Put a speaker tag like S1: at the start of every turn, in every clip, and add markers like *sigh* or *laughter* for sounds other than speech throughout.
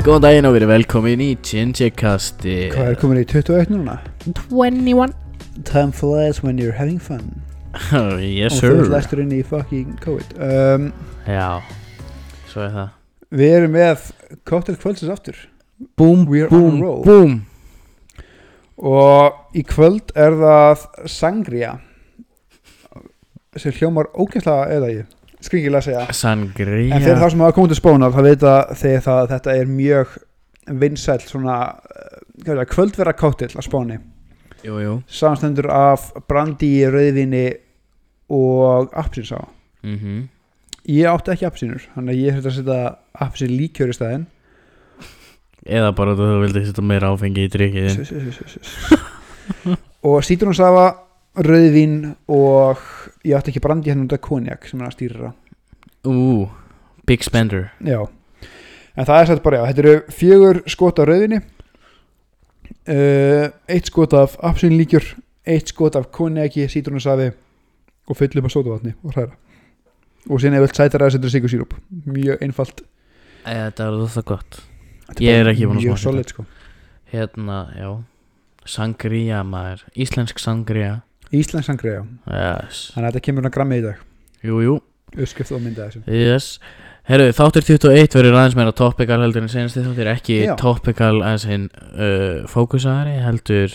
S1: Góðan daginn og verið velkomin í Gingercast
S2: Hvað er komin í 21 núna?
S1: 21
S2: Time flies when you're having fun
S1: *laughs* Yes
S2: Og þú ert
S1: sir
S2: læstur inn í fucking COVID um,
S1: Já, svo er það
S2: Við erum með Cocktail kvöldsins aftur
S1: Búm,
S2: We are on
S1: búm,
S2: a roll.
S1: búm
S2: Og í kvöld er það Sangria sem hljómar ógeðslega eða ég skringilega að segja
S1: Sangria
S2: En fyrir þá sem hafa komið til spónar þá veit að þegar það, þetta er mjög vinsæll svona uh, kvöldverða cocktail á spáni
S1: Jú, jú
S2: samanstendur af brandi, rauðvinni og appsinsá
S1: mm
S2: ég átti ekki appsínur þannig að ég þurfti að setja appsín líkjör í staðinn
S1: Eða bara þú vildi setja meira áfengi í drikkið
S2: S- s- s- s- s- og sítrónsafa rauðvin og ég átti ekki brandi hérna út af konjak sem er að stýra
S1: Ú, Big Spender
S2: já en það er sætt bara já þetta eru fjögur skot af rauðvinni uh, eitt skot af appsín líkjör eitt skot af konjaki, sítrónsafi og fyllum af sótavatni og hræra og síðan ef vilt sætara að setja sigur sírup mjög einfalt
S1: Æ, Þetta er það gott
S2: Þetta
S1: Ég er
S2: bara
S1: ekki búinn að
S2: mjög
S1: smakka
S2: solid, sko.
S1: Hérna, já Sangria maður Íslensk sangria
S2: Íslensk sangri já
S1: Yes
S2: Þannig að þetta kemur hann að grammi í dag
S1: Jú, jú
S2: Uppskrift og mynda þessu
S1: Yes Herru, þáttur 21 verður aðeins meira topical heldur en senasti þáttur ekki
S2: Já.
S1: topical aðeins hinn uh, fókusæri heldur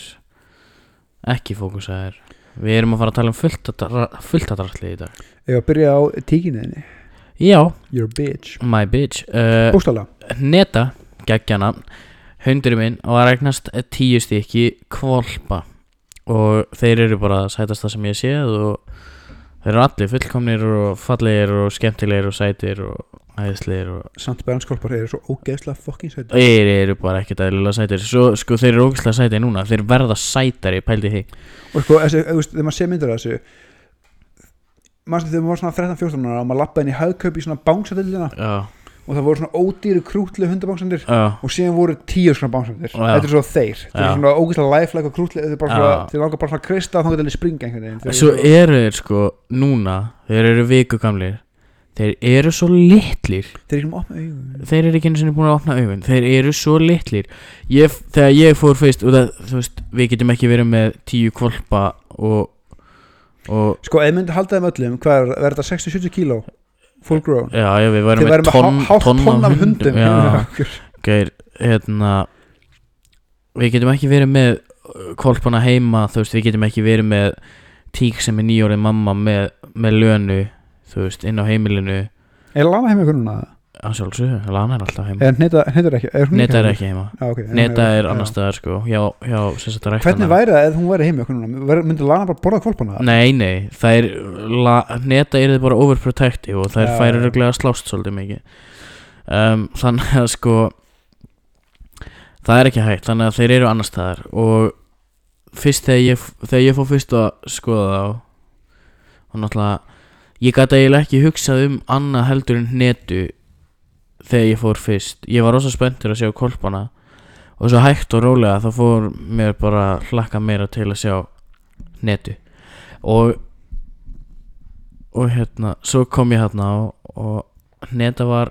S1: ekki fókusæri Við erum að fara að tala um fullt að dra- fullt að drastli í dag
S2: Ef að byrja á tíkinniðinni
S1: Já,
S2: You're a bitch
S1: my bitch uh,
S2: Bústala
S1: Neta, geggjana Hundurinn minn og að regnast eh, tíu stykki kvolpa og þeir eru bara sætasta sem ég séð og þeir eru allir fullkomnir og fallegir og skemmtilegir og sætir og æðislegir og
S2: Samt bæðanskolpar eru svo ógeðslega fucking sætt
S1: Þeir eru bara ekkert aðlilega sætir Svo, sko, þeir eru ógæslega sætir núna Þeir verða sætari, pældi því
S2: Og sko, þessi, þú veist, þegar maður sé myndir af þessu Manstu þegar maður var svona 13-14 ára og maður lappaði inn í haugkaup í svona bánsatillina
S1: Já,
S2: og það voru svona ódýru krútlu hundabánsandir
S1: já,
S2: og síðan voru tíu svona bánsandir
S1: Já.
S2: Þetta er svo þeir Þetta er
S1: Já.
S2: svona ógeðslega lifelike og krútlu Þeir, bara svona,
S1: Já.
S2: þeir langar bara svona að krista þá getur þeir springa einhvern veginn Þeir
S1: Svo
S2: eru
S1: eru þeir sko núna Þeir eru vikugamlir Þeir eru svo litlir
S2: Þeir eru ekki með opna
S1: Þeir eru ekki einu sinni búin að opna augun
S2: augun
S1: Þeir eru svo litlir ég, Þegar ég fór fyrst og það, Þú veist, við getum ekki verið með tíu kvolpa Og, og
S2: Sko, ef myndi halda þeim öllum, hvað er, verður þetta 60-70 kíló? Full grown
S1: Já, já, við værum
S2: Þið
S1: með
S2: verðum
S1: tonn
S2: með hálft
S1: tonn
S2: tonn af hundum *laughs*
S1: Já,
S2: okkur.
S1: Geir, hérna Við getum ekki verið með uh, Kvolpana heima, þú veist, við getum ekki verið með Tík sem er nýjórið mamma með, með lönu, þú veist, inn á heimilinu
S2: Er Lana heima ykkur núna?
S1: Að sjálfsögðu, lana er alltaf heima
S2: Er Neta, neta er ekki? Er hún
S1: Neta er
S2: heima?
S1: ekki heima
S2: Já, ok, hún
S1: Neta er
S2: heima, já.
S1: annars staðar sko Já, já, sem sagt að rækta
S2: Hvernig væri það ef hún væri heima ykkur núna? Væri- Myndi Lana bara borða kvolpana?
S1: Nei, nei, það er la, Neta er þið bara overprotective og það er
S2: Já,
S1: færi
S2: já.
S1: röglega að slást svolítið mikið um, *laughs* Þannig að sko Það er ekki hægt Þannig að þeir eru annars staðar og fyrst þegar ég, þegar ég fór fyrst að skoða þá og náttúrulega ég gat eiginlega ekki hugsað um annað heldur en netu þegar ég fór fyrst ég var rosa spenntur að sjá kolpana og svo hægt og rólega þá fór mér bara hlakka meira til að sjá netu og og hérna, svo kom ég hérna og, og neta var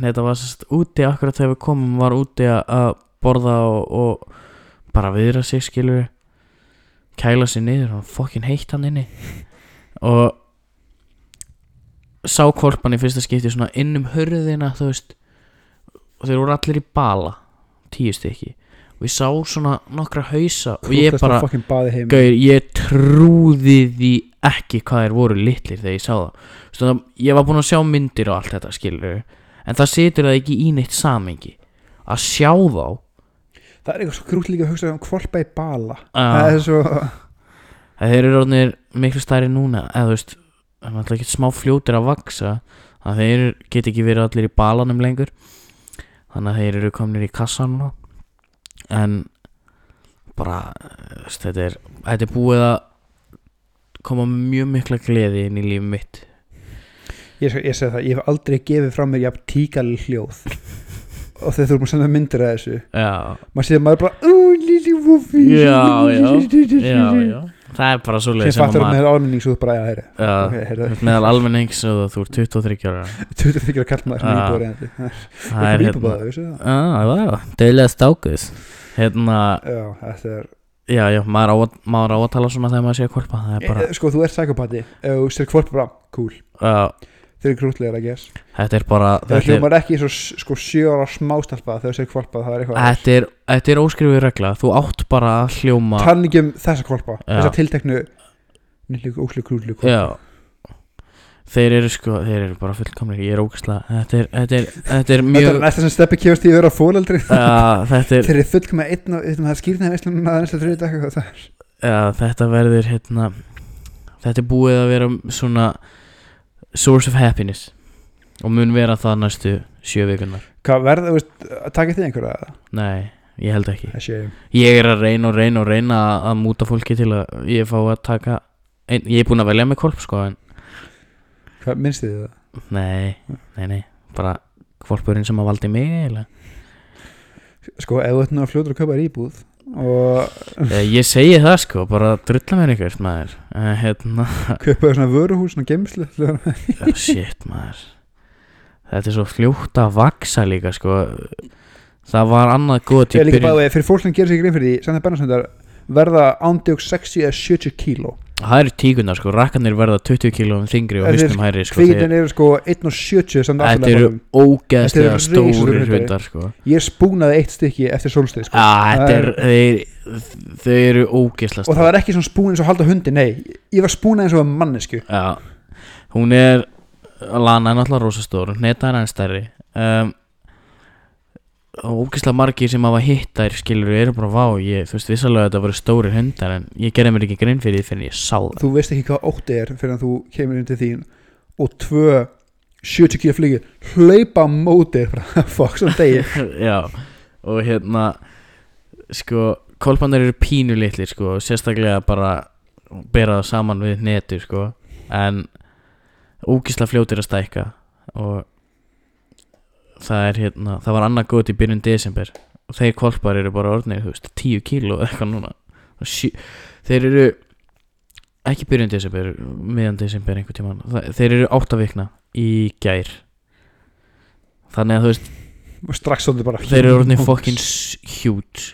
S1: neta var sérst úti akkurat þegar við komum var úti að- að borða og, og bara viðra sig skilur kæla sig niður og fokkin heitt hann inni og sá kolpan í fyrsta skipti svona inn um hörðina þú veist og þeir voru allir í bala tíu stykki og ég sá svona nokkra hausa og ég
S2: Krútlegasta
S1: bara
S2: fucking baði heima
S1: Gauir, ég trúði því ekki hvað þeir voru litlir þegar ég sá það Svona, Ég var búinn að sjá myndir og allt þetta skilur En það situr það ekki í neitt samengi Að sjá þá
S2: Það er eitthvað svo grútt líka að hugsa um kvolpa í bala Það
S1: að
S2: er svo
S1: að þeir eru orðinir miklu stærri núna Eða þú veist, það er alltaf ekki smá fljótir að vaksa Að þeir get ekki verið allir í balanum lengur Þannig að þeir eru komnir í kassan núna En bara, þú veist, þetta er, þetta er búið að koma mjög mikla gleði inn í lífum mitt
S2: Ég, ég segi það, ég hef aldrei gefið frá mér jafn tíkali hljóð og þegar þú erum að senda myndir af þessu
S1: Já,
S2: maður séð að maður bara "Ó, Lili Wuffi."
S1: já, já, já, já. það er bara svo leið
S2: sem
S1: sem að
S2: fattar um
S1: maður
S2: með almenning svo þú bara að heyra
S1: Já,
S2: ok, heyrðu. *laughs*
S1: meðal almennings og þú ert 23 ára
S2: 23 að kalla maður sem
S1: Já.
S2: íbúður eða
S1: það er hérna
S2: það, vissu það?
S1: Já, það var deilega stákus hérna,
S2: Já, þetta er
S1: já, já, maður á, að- maður á að tala svona þegar maður sé að kolpa það *laughs* er bara,
S2: Eh, Sko, þú ert psychopati Ef þú sér kvolpa fram, cool
S1: já,
S2: Þeir eru krútlegar, I guess
S1: þetta er bara
S2: Það
S1: þetta er,
S2: hljómar ekki eins og s- sko sjö ára smástelpa Þegar þú sér kvolpa, það er eitthvað
S1: þetta er, þetta er óskrifið regla þú átt bara að hljóma
S2: Tann ekki um þessa kvolpa
S1: Já.
S2: Þessa tilteknu Nýllu, óslu, krútlu
S1: já þeir eru sko, þeir eru bara fullkomnir ég er ógæslega, þetta er, þetta er, þetta er
S2: Þetta er
S1: mjög
S2: næsta sem steppi kefast í að vera fóreldri
S1: Já, þetta, er,
S2: Þeir eru fullkoma einn og Þetta er skýrnaði veistlunum að næsta þriði dag eitthvað það er.
S1: já, þetta verður hérna, þetta er búið að vera svona source of happiness og mun vera það næstu sjö vikunar
S2: Hvað verða, þú veist, að taka þig einhverja eða?
S1: nei, ég held ekki
S2: Það sé ég.
S1: ég er að reyna og reyna og reyna að- að múta fólki til að ég fá að taka ein, ég er búin að velja mig kolp sko en
S2: Hvað minnst þið það?
S1: nei, nei, nei, bara kolpurinn sem að valdi mig eiginlega.
S2: *laughs* Sko, ef þú ert nú að fljótur að kaupa þér íbúð og
S1: Eh, ég segi það sko, bara drulla mér ykkur maður, Eh, hérna
S2: *laughs* kaupa þér svona vöruhús, svona geimslu til að-
S1: Já, shit maður Þetta er svo fljótt að vaksa líka sko Það var annað gott í
S2: Ég er líka
S1: byrjun
S2: bæðið, fyrir fólk sem gerir sér grein fyrir því Sannig Bernarssöndar verða ándjók 60 eða 70 kíló
S1: Það eru tíkunar sko, rakkarnir verða 20 kílóum þingri og
S2: Þetta er
S1: haustum hæri sko þeir-
S2: Kvíðin eru sko 1 og 70 samt
S1: Þetta
S2: afturlega
S1: eru
S2: honum.
S1: ógeðslega
S2: Þetta eru
S1: stórir
S2: risastórir
S1: hundar sko
S2: Ég spúnaði eitt stykki eftir solstið sko.
S1: Já,
S2: Það
S1: þetta er, þeir, þeir eru ógeðslega
S2: Og það var ekki svona spún eins og halda hundi, nei Ég var spúnað eins og mannesku
S1: Já, hún er Lana er náttúrulega rosa stór Neta er enn stærri um, og ógislega margir sem hafa hitt þær skilur eru bara vá ég, þú veist vissalega að þetta voru stórir hundar en ég gerði mér ekki grein fyrir því fyrir en ég sá það
S2: Þú veist ekki hvað ótti er fyrir að þú kemur inn til þín Og tvö 70 kíló flygir Hlaupa á móti þér bara, *laughs* Fuck, svona degi
S1: *laughs* Já, og hérna sko, kolpanar eru pínu litlir sko, og sérstaklega bara bera það saman við netu sko, en ógislega fljótir að stækka og það er hérna, það var annað góð í byrjun desember og þeir kolpar eru bara orðnir, þú veist, 10 kíló eða eitthvað núna Og sjö, þeir eru ekki byrjun desember meðan desember einhvern tímann Þa- þeir eru áttavikna í gær þannig að þú veist
S2: Og strax svona bara
S1: Þeir eru orðinni fucking s- huge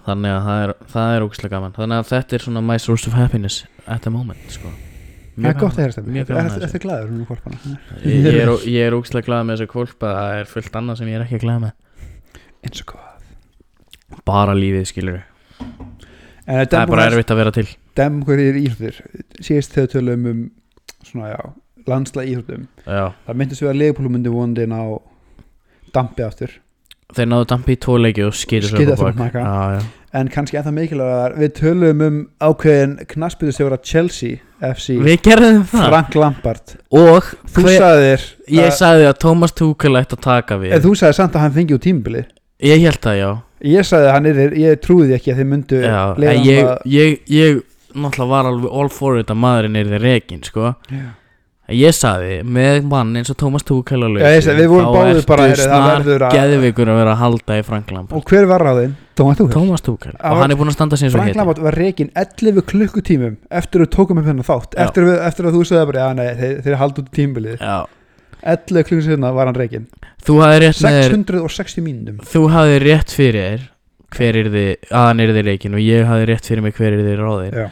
S1: Þannig að það er, það er ógæslega gaman Þannig að þetta er svona my source of happiness at the moment sko.
S2: Það er gott að heyra
S1: Mjög gaman að þessu.
S2: stefni Þetta er glæður um hvarpana
S1: Ég, ég er, ég er ógæslega glað með þessa kvolpa Það er fullt annað sem ég er ekki að glað með
S2: Eins og hvað
S1: Bara lífið skilur Það
S2: En
S1: er bara
S2: Democrats-
S1: erfitt að vera til
S2: dem hverjir íþróttir síðast þegar við tölum um svona já, landslega íþróttum
S1: Já.
S2: það myndist við að leifupúlum myndi vonandi ná dampi aftur
S1: Þeir náðu dampi í tóleiki og skýtur
S2: Skita svo
S1: bak
S2: maka.
S1: Já, já.
S2: en kannski ennþá mikilvægar við tölum um ákveðin knaspitustjóra Chelsea FC
S1: Við gerðum það
S2: Frank Lampard
S1: Og
S2: þú
S1: hver-
S2: sagði þér
S1: ég
S2: að-
S1: sagði að Thomas Tuchel ætti að taka við
S2: en þú sagði samt að hann fengi úr tímbili
S1: Ég held það já
S2: ég sagði að hann er ég trúði því ekki að þeir myndu
S1: Já,
S2: leyfa
S1: en
S2: honum
S1: ég,
S2: að-
S1: ég, ég náttúrulega var alveg all for it að maðurinn er þið rekin, sko
S2: Já.
S1: En Ég saði, með mann eins og Thomas Tuchel alveg
S2: Já, ég sagði, við vorum báðir bara, heyrðu, það verður að-
S1: Geðvikur að vera að halda í Frank Lampard
S2: og hver var ráðinn? Tóma þú
S1: Thomas Tuchel,
S2: Það
S1: og
S2: var-
S1: hann er búinn að standa sér svo
S2: Frank
S1: hétt
S2: Lampard var reygin 11 klukkutímum eftir að við tókum upp hennar þátt
S1: Já.
S2: eftir, við, eftir að þú sagði bara, já nei, þeir, þeir haldi út tímbilið
S1: Já,
S2: 11 klukkutímum hérna var hann reygin
S1: þú hafði rétt með þér
S2: 660 mínum
S1: Þú hafði rétt fyrir þér Hver er þið, að hann er þið reikin Og ég hafði rétt fyrir mig hver er þið ráðir
S2: Já.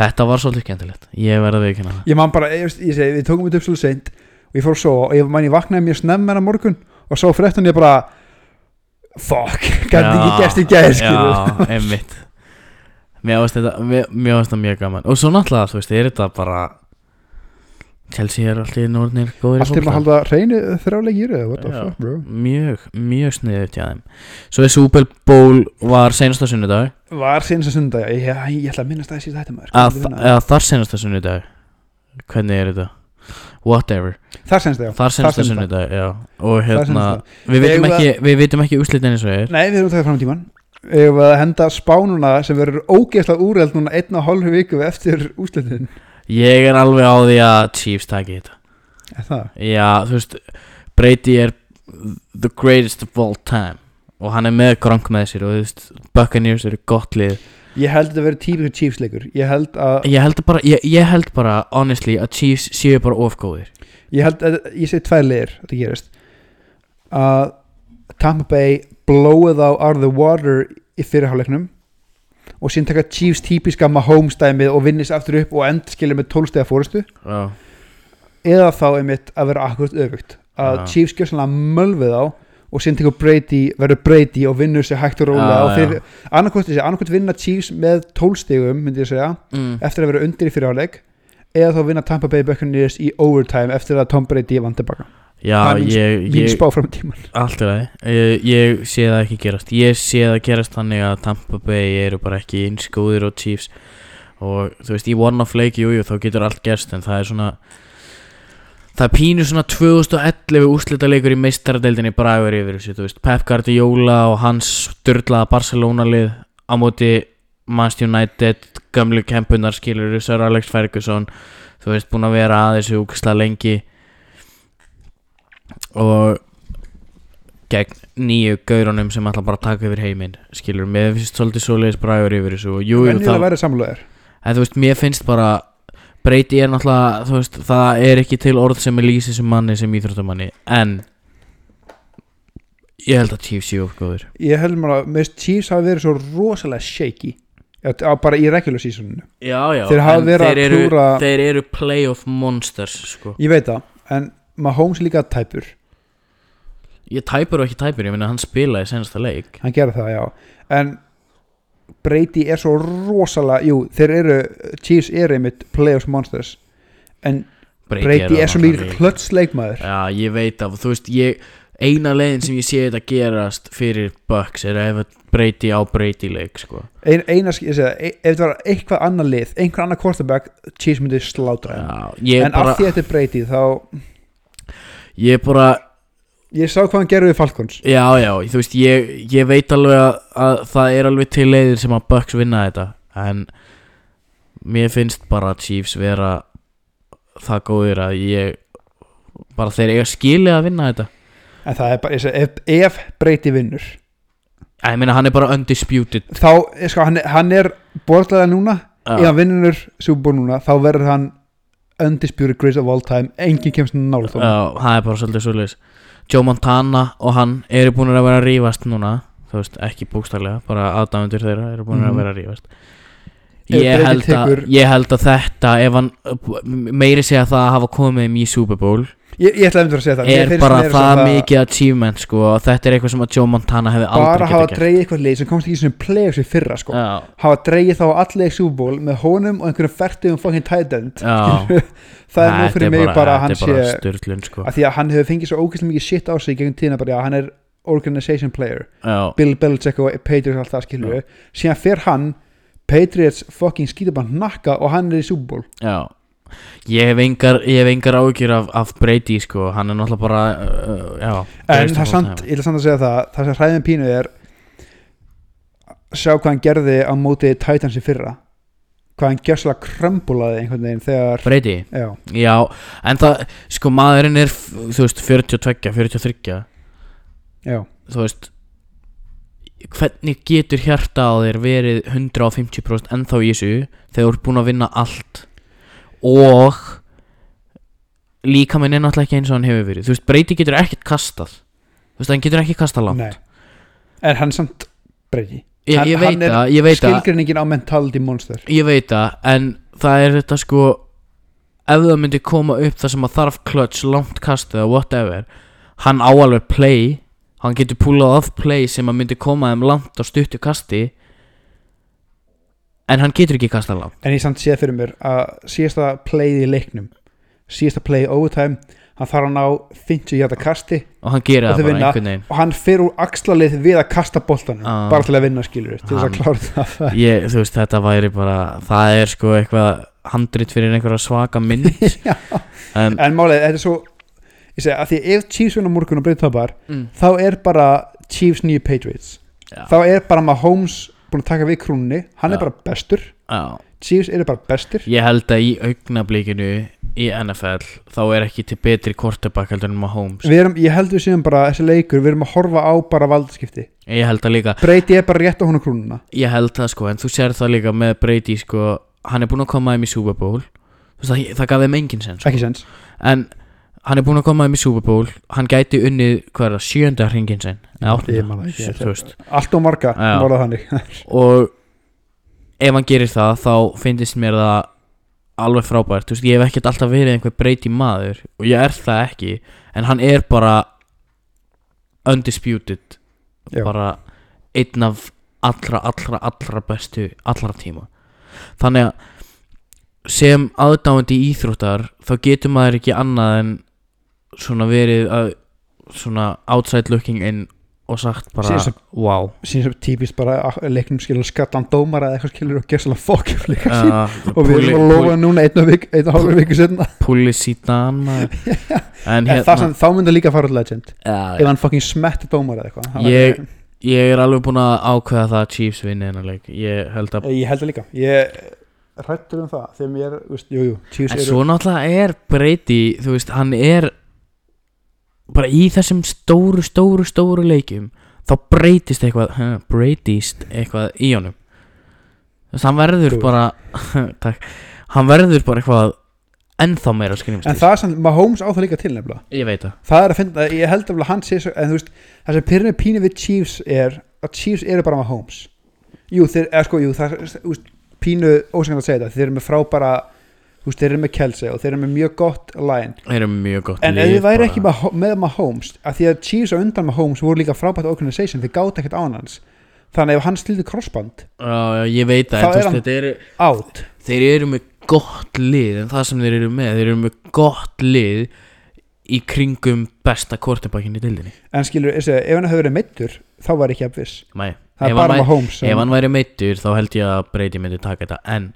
S1: Þetta var svolítið skemmtilegt, ég verði að viðkynna það
S2: ég man bara, ég, ég segi, við tókum þetta upp svolítið seint og ég fór að sofa og ég man ég vaknaði mér snemma hennar morgun og svo fréttan ég bara fuck, *laughs* gæti ekki
S1: Já,
S2: gæst í gæði skilur
S1: Já, einmitt Mér ást þetta, mér, mér ást þetta mjög gaman Og svo náttúrulega, þú veist, er þetta bara Chelsea er alltaf í norðnir góðir í
S2: allt til að
S1: fótbolta.
S2: halda reyni þrjáleikir eða what the
S1: Já.
S2: fuck bro
S1: Mjög, mjög sniðið hjá þeim Svo er Super Bowl var senasta sunnudag
S2: var síðan sem sunda, ég, ég, ég ætla að minnast að það síðan þetta maður
S1: að,
S2: Hvernig vinna?
S1: Eða þar senasta sunnudag Hvernig er þetta? Whatever
S2: þar senst það, já
S1: Þar senasta
S2: senasta.
S1: sunnudag, já Og
S2: Þar
S1: hérna,
S2: senasta.
S1: við vitum
S2: Eigum
S1: ekki, við vitum ekki úrslitin eins og er
S2: Nei, við erum að taka fram í tíman Ef að henda spánuna sem verður ógeðslega úreld núna einn og hálfu viku eftir úslitin
S1: Ég er alveg á því að Chiefs taki þetta
S2: Er það?
S1: Já, þú veist Brady er the greatest of all time og hann er með Gronk með sér og þú veist Buccaneers eru gott lið
S2: ég held þetta að vera típisku Chiefs leikur ég held að,
S1: Ég held bara, ég, ég held bara, honestly, að Chiefs séu bara ofgóðir
S2: ég held að ég segi tvær leir að þetta gerist að Tampa Bay blowið á out of the water í fyrirháleiknum og síðan taka Chiefs típiska Mahomes dæmið og vinnis aftur upp og endskilja með 12 stega fórustu
S1: Já,
S2: eða þá einmitt að vera akkurat öfugt að
S1: Já.
S2: Chiefs gjör svona mölvið á og síðan tekur Brady, verður Brady og vinnur sér hægt og rólega
S1: Já,
S2: og þeir, annarkvort, annarkvort vinna Chiefs með 12 stegum myndi ég segja,
S1: mm.
S2: eftir að vera undir í fyrirháleik eða þá vinna Tampa Bay Buccaneers í overtime eftir að Tom Brady vant tilbaka
S1: Já
S2: Það er mín-
S1: ég,
S2: mín
S1: ég,
S2: spá fram í tíman
S1: allt er það ég, ég sé það ekki gerast Ég sé það gerast þannig að Tampa Bay eru bara ekki eins góðir og Chiefs Og þú veist, í one-off leik, jú, jú, þá getur allt gerst En það er svona Það er pínu svona 2011 úrslitaleikur í meistaradeildinni bragur yfir þessu, þú veist, Pep Guardiola og hans styrlaða Barcelona-lið á móti Manchester United, gamlu kempunar skilur, Sir Alex Ferguson, þú veist, búin að vera að þessu úksla lengi og gegn nýju gaurunum sem ætla bara að taka yfir heiminn, skilur, mér finnst svolítið svoleiðis bragur yfir þessu og jú, jú,
S2: en ég að vera samlóðar
S1: En þú veist, mér finnst bara Brady er náttúrulega, þú veist, það er ekki til orð sem er lýsið sem manni sem íþróttamanni En Ég held að Chiefs séu uppgóður
S2: ég held maður að með Chiefs hafa verið svo rosalega shaky Já, t- á- bara í regular seasoninu
S1: Já, já
S2: Þeir hafa
S1: en
S2: verið að
S1: þeir eru,
S2: klúðra-
S1: Þeir eru playoff monsters, sko
S2: ég veit það, en Mahomes er líka tæpur
S1: Ég tæpur og ekki tæpur, ég meina hann spilaði senasta leik
S2: hann gera það, já en Brady er svo rosalega jú, þeir eru, Chiefs eru einmitt playoffs monsters en Brady
S1: það
S2: er svo
S1: náttúrulega
S2: mikið
S1: líka.
S2: klöts leikmaður
S1: Já, ég veit af, þú veist, ég Eina leiðin sem ég sé þetta gerast fyrir Bucks er ef að Brady á Brady leik, sko
S2: Ein, eina, ég segi það, e- ef þetta var eitthvað annað lið einhver annað quarterback, Chiefs myndi slátra þeim.
S1: Já, ég
S2: en
S1: bara
S2: af því að þetta er Brady þá,
S1: Ég bara,
S2: ég sá hvað hann gerði við Falcons
S1: Já, já, þú veist, ég, ég veit alveg að, að það er alveg til leiðir sem að Bucks vinna þetta En mér finnst bara Chiefs vera það góðir að ég Bara þeir eiga skilið að vinna þetta
S2: En það er bara, ég segi, ef, ef breyti vinnur
S1: Æ, Ég meina, hann er bara undisputed
S2: þá, ég sko, hann, er- hann er borðlega núna, ef
S1: Já,
S2: hann vinnur súbúr núna, þá verður hann undisputed greatest of all time, enginn kemst nála
S1: já,
S2: þá,
S1: það er bara svolítið svolítið Joe Montana og hann eru búin að vera að rífast núna Þú veist, ekki bókstarlega, bara aðdæmendur þeirra eru búin
S2: Mhm.
S1: að vera að rífast
S2: Ef
S1: Ég
S2: Brady
S1: held, að,
S2: tekur-
S1: ég held að þetta, ef hann meiri segja það að hafa komið um í Super Bowl
S2: ég, ég ætla að mynda að segja það Mér
S1: er
S2: finnst
S1: bara
S2: meira sem
S1: það mikið achievement sko og þetta er eitthvað sem að Joe Montana hefði
S2: bara
S1: aldrei
S2: hafa
S1: geta gert
S2: dreigið eitthvað leið sem komst ekki sem playoffs í fyrra, sko
S1: Já,
S2: hafa dreigið þá allega súból með honum og einhverjum fertum fucking tight end
S1: já
S2: *laughs* það er nú
S1: Þetta
S2: fyrir mig bara, að hann
S1: Þetta er bara
S2: sé
S1: styrlun sko
S2: að því að hann hefur fengið svo ógæslega mikið shit á sig í gegnum tíðina bara, já, hann er organization player
S1: Já,
S2: Bill Belichick og Patriots og allt það skilur við síðan fer hann Patriots fucking skýtur bara nakka og hann er í Super Bowl
S1: já Ég hef engar, ég hef engar ágjur af, af Brady sko Hann er náttúrulega bara uh, Já
S2: en
S1: greatest of
S2: það
S1: all
S2: samt,
S1: time.
S2: ég ætla samt að segja það það sem hræðin pínu er sjá hvað hann gerði á móti Titans í fyrra hvað hann gjössalega krömbulaði einhvern veginn þegar
S1: Brady,
S2: já,
S1: já En það, sko maðurinn er f- Þú veist, 42, 43
S2: já,
S1: Þú veist Hvernig getur hjarta á þér verið 150% ennþá í þessu Þegar þú ert búin að vinna allt og líkaminn er náttúrulega ekki eins og hann hefur verið þú veist, Brady getur ekkert kastað þú veist, hann getur ekki kastað langt
S2: nei en hann samt breyki
S1: ég,
S2: Hann-
S1: ég
S2: hann
S1: veit
S2: er
S1: það, ég veit það
S2: skilgrinningin á mentality monster
S1: ég veit það, en það er þetta sko ef það myndi koma upp það sem að þarf clutch, langt kast eða whatever, hann á alveg play, hann getur púlað af play sem að myndi koma þeim langt á stuttu kasti en hann getur ekki kastað langt
S2: en ég samt séð fyrir mér að síðasta playið í leiknum síðasta playið overtime hann þarf hann á 50 hjarta kasti
S1: og hann gerir
S2: Og
S1: það
S2: þau
S1: bara
S2: vinna.
S1: einhvern veginn
S2: og hann fer úr axlalið við að kasta boltanum
S1: Ah.
S2: bara til að vinna skilur til þess að
S1: Hann-
S2: klára
S1: *laughs*
S2: það *laughs*
S1: ég, þú veist, þetta væri bara það er sko eitthvað handrit fyrir einhverja svaka
S2: *laughs*
S1: mynd
S2: Já.
S1: en,
S2: en málið, þetta er svo ég segi að því ef Chiefs vinna á morgun og breyta tapar
S1: mm,
S2: þá er bara Chiefs nýju Patriots
S1: Já.
S2: þá er bara Mahomes búin að taka við krúnni
S1: Já.
S2: hann er bara bestur,
S1: já,
S2: Chiefs eru bara bestir
S1: Ég held að í augnablíkinu í NFL þá er ekki til betri kortabak heldur en Mahomes
S2: Við erum, ég held við séum bara þessi leikur, við erum að horfa á bara valdaskipti
S1: Ég held að líka,
S2: Breyti er bara rétt á honum krúnuna
S1: ég held það sko en þú sér það líka með Brady sko hann er búinn að koma þeim í Super Bowl Þú veist, það, það gaf þeim engin sens sko.
S2: Ekki sens
S1: en hann er búinn að koma þeim í Super Bowl hann gæti unnið hvað er það sjönda hringin sinn eða
S2: Ég man það
S1: áttunda,
S2: ekki, ég-
S1: þú veist
S2: Allt og marga,
S1: Já.
S2: var
S1: *laughs*
S2: það þannig
S1: og ef hann gerir það þá finnist mér það alveg frábært, þú veist, ég hef ekkert alltaf verið einhver breyti maður og ég er það ekki en hann er bara undisputed
S2: Já.
S1: bara einn af allra, allra, allra bestu allra tíma þannig að sem aðdáandi íþróttar þá getur maður ekki annað en svona verið að svona outside looking in og sagt bara,
S2: Síðan sem-
S1: wow
S2: *laughs* Sýn sem típist bara að leiknum skilur skallan dómara eða eitthvað skilur og gerst alveg fokk líka
S1: Uh,
S2: Og við erum að lofa núna einn og vik, einn og hálfur viku setna
S1: Pullis í
S2: *laughs*
S1: Dan En
S2: En
S1: hérna
S2: það sem þá myndi líka fara til legend
S1: Já,
S2: Ef hann fucking smetti dómara eða eitthvað það
S1: Ég-
S2: væri-
S1: Ég er alveg búinn að ákveða það að Chiefs vinni hennar leik Ég held að
S2: Ég held það líka Ég rættur um það þegar mér, veist, jú, jú, Chiefs
S1: En
S2: eru
S1: svo náttúrulega er Brady Þú veist, hann er Bara í þessum stóru, stóru, stóru leikjum Þá breytist eitthvað *laughs* huh, Breytist eitthvað í honum Þú veist, hann verður
S2: Þú-
S1: bara *laughs* Takk Hann verður bara eitthvað Ennþá meira
S2: En
S1: skrýmstis
S2: það sem Mahomes á það líka til nefnilega
S1: Ég veit það
S2: Það er að finna, ég held að hann sé svo, en þú veist, það sem pyrrinu pínu við Chiefs er að Chiefs eru bara Mahomes Jú, þeir, eða sko, jú, það þú veist, pínu ósækna að segja þetta, þeir eru með frábæra þú veist, þeir eru með Kelsey og þeir eru með mjög gott line,
S1: Þeir eru mjög gott
S2: en ef
S1: lið
S2: þið væri
S1: bara.
S2: ekki Mah- með Mahomes, að því að Chiefs á undan Mahomes voru líka frábært organization, þeir gáta ekkert á hann hans, þannig að ef hann slíti crossband
S1: Já, já, ég veit það,
S2: Þá
S1: en
S2: er
S1: þú veist,
S2: hann-
S1: þetta eru
S2: out,
S1: þeir eru með gott lið en það sem þeir eru með, þeir eru með gott lið í kringum besta kortabakinn í dildinni
S2: en skilur, þessi, ef hann hefur verið meittur, þá var ég ekki að viss,
S1: Mæ,
S2: það
S1: Ef
S2: er
S1: hann
S2: bara
S1: væri-
S2: Mahomes sem-
S1: ef hann væri meittur þá held ég að Brady myndi taka þetta en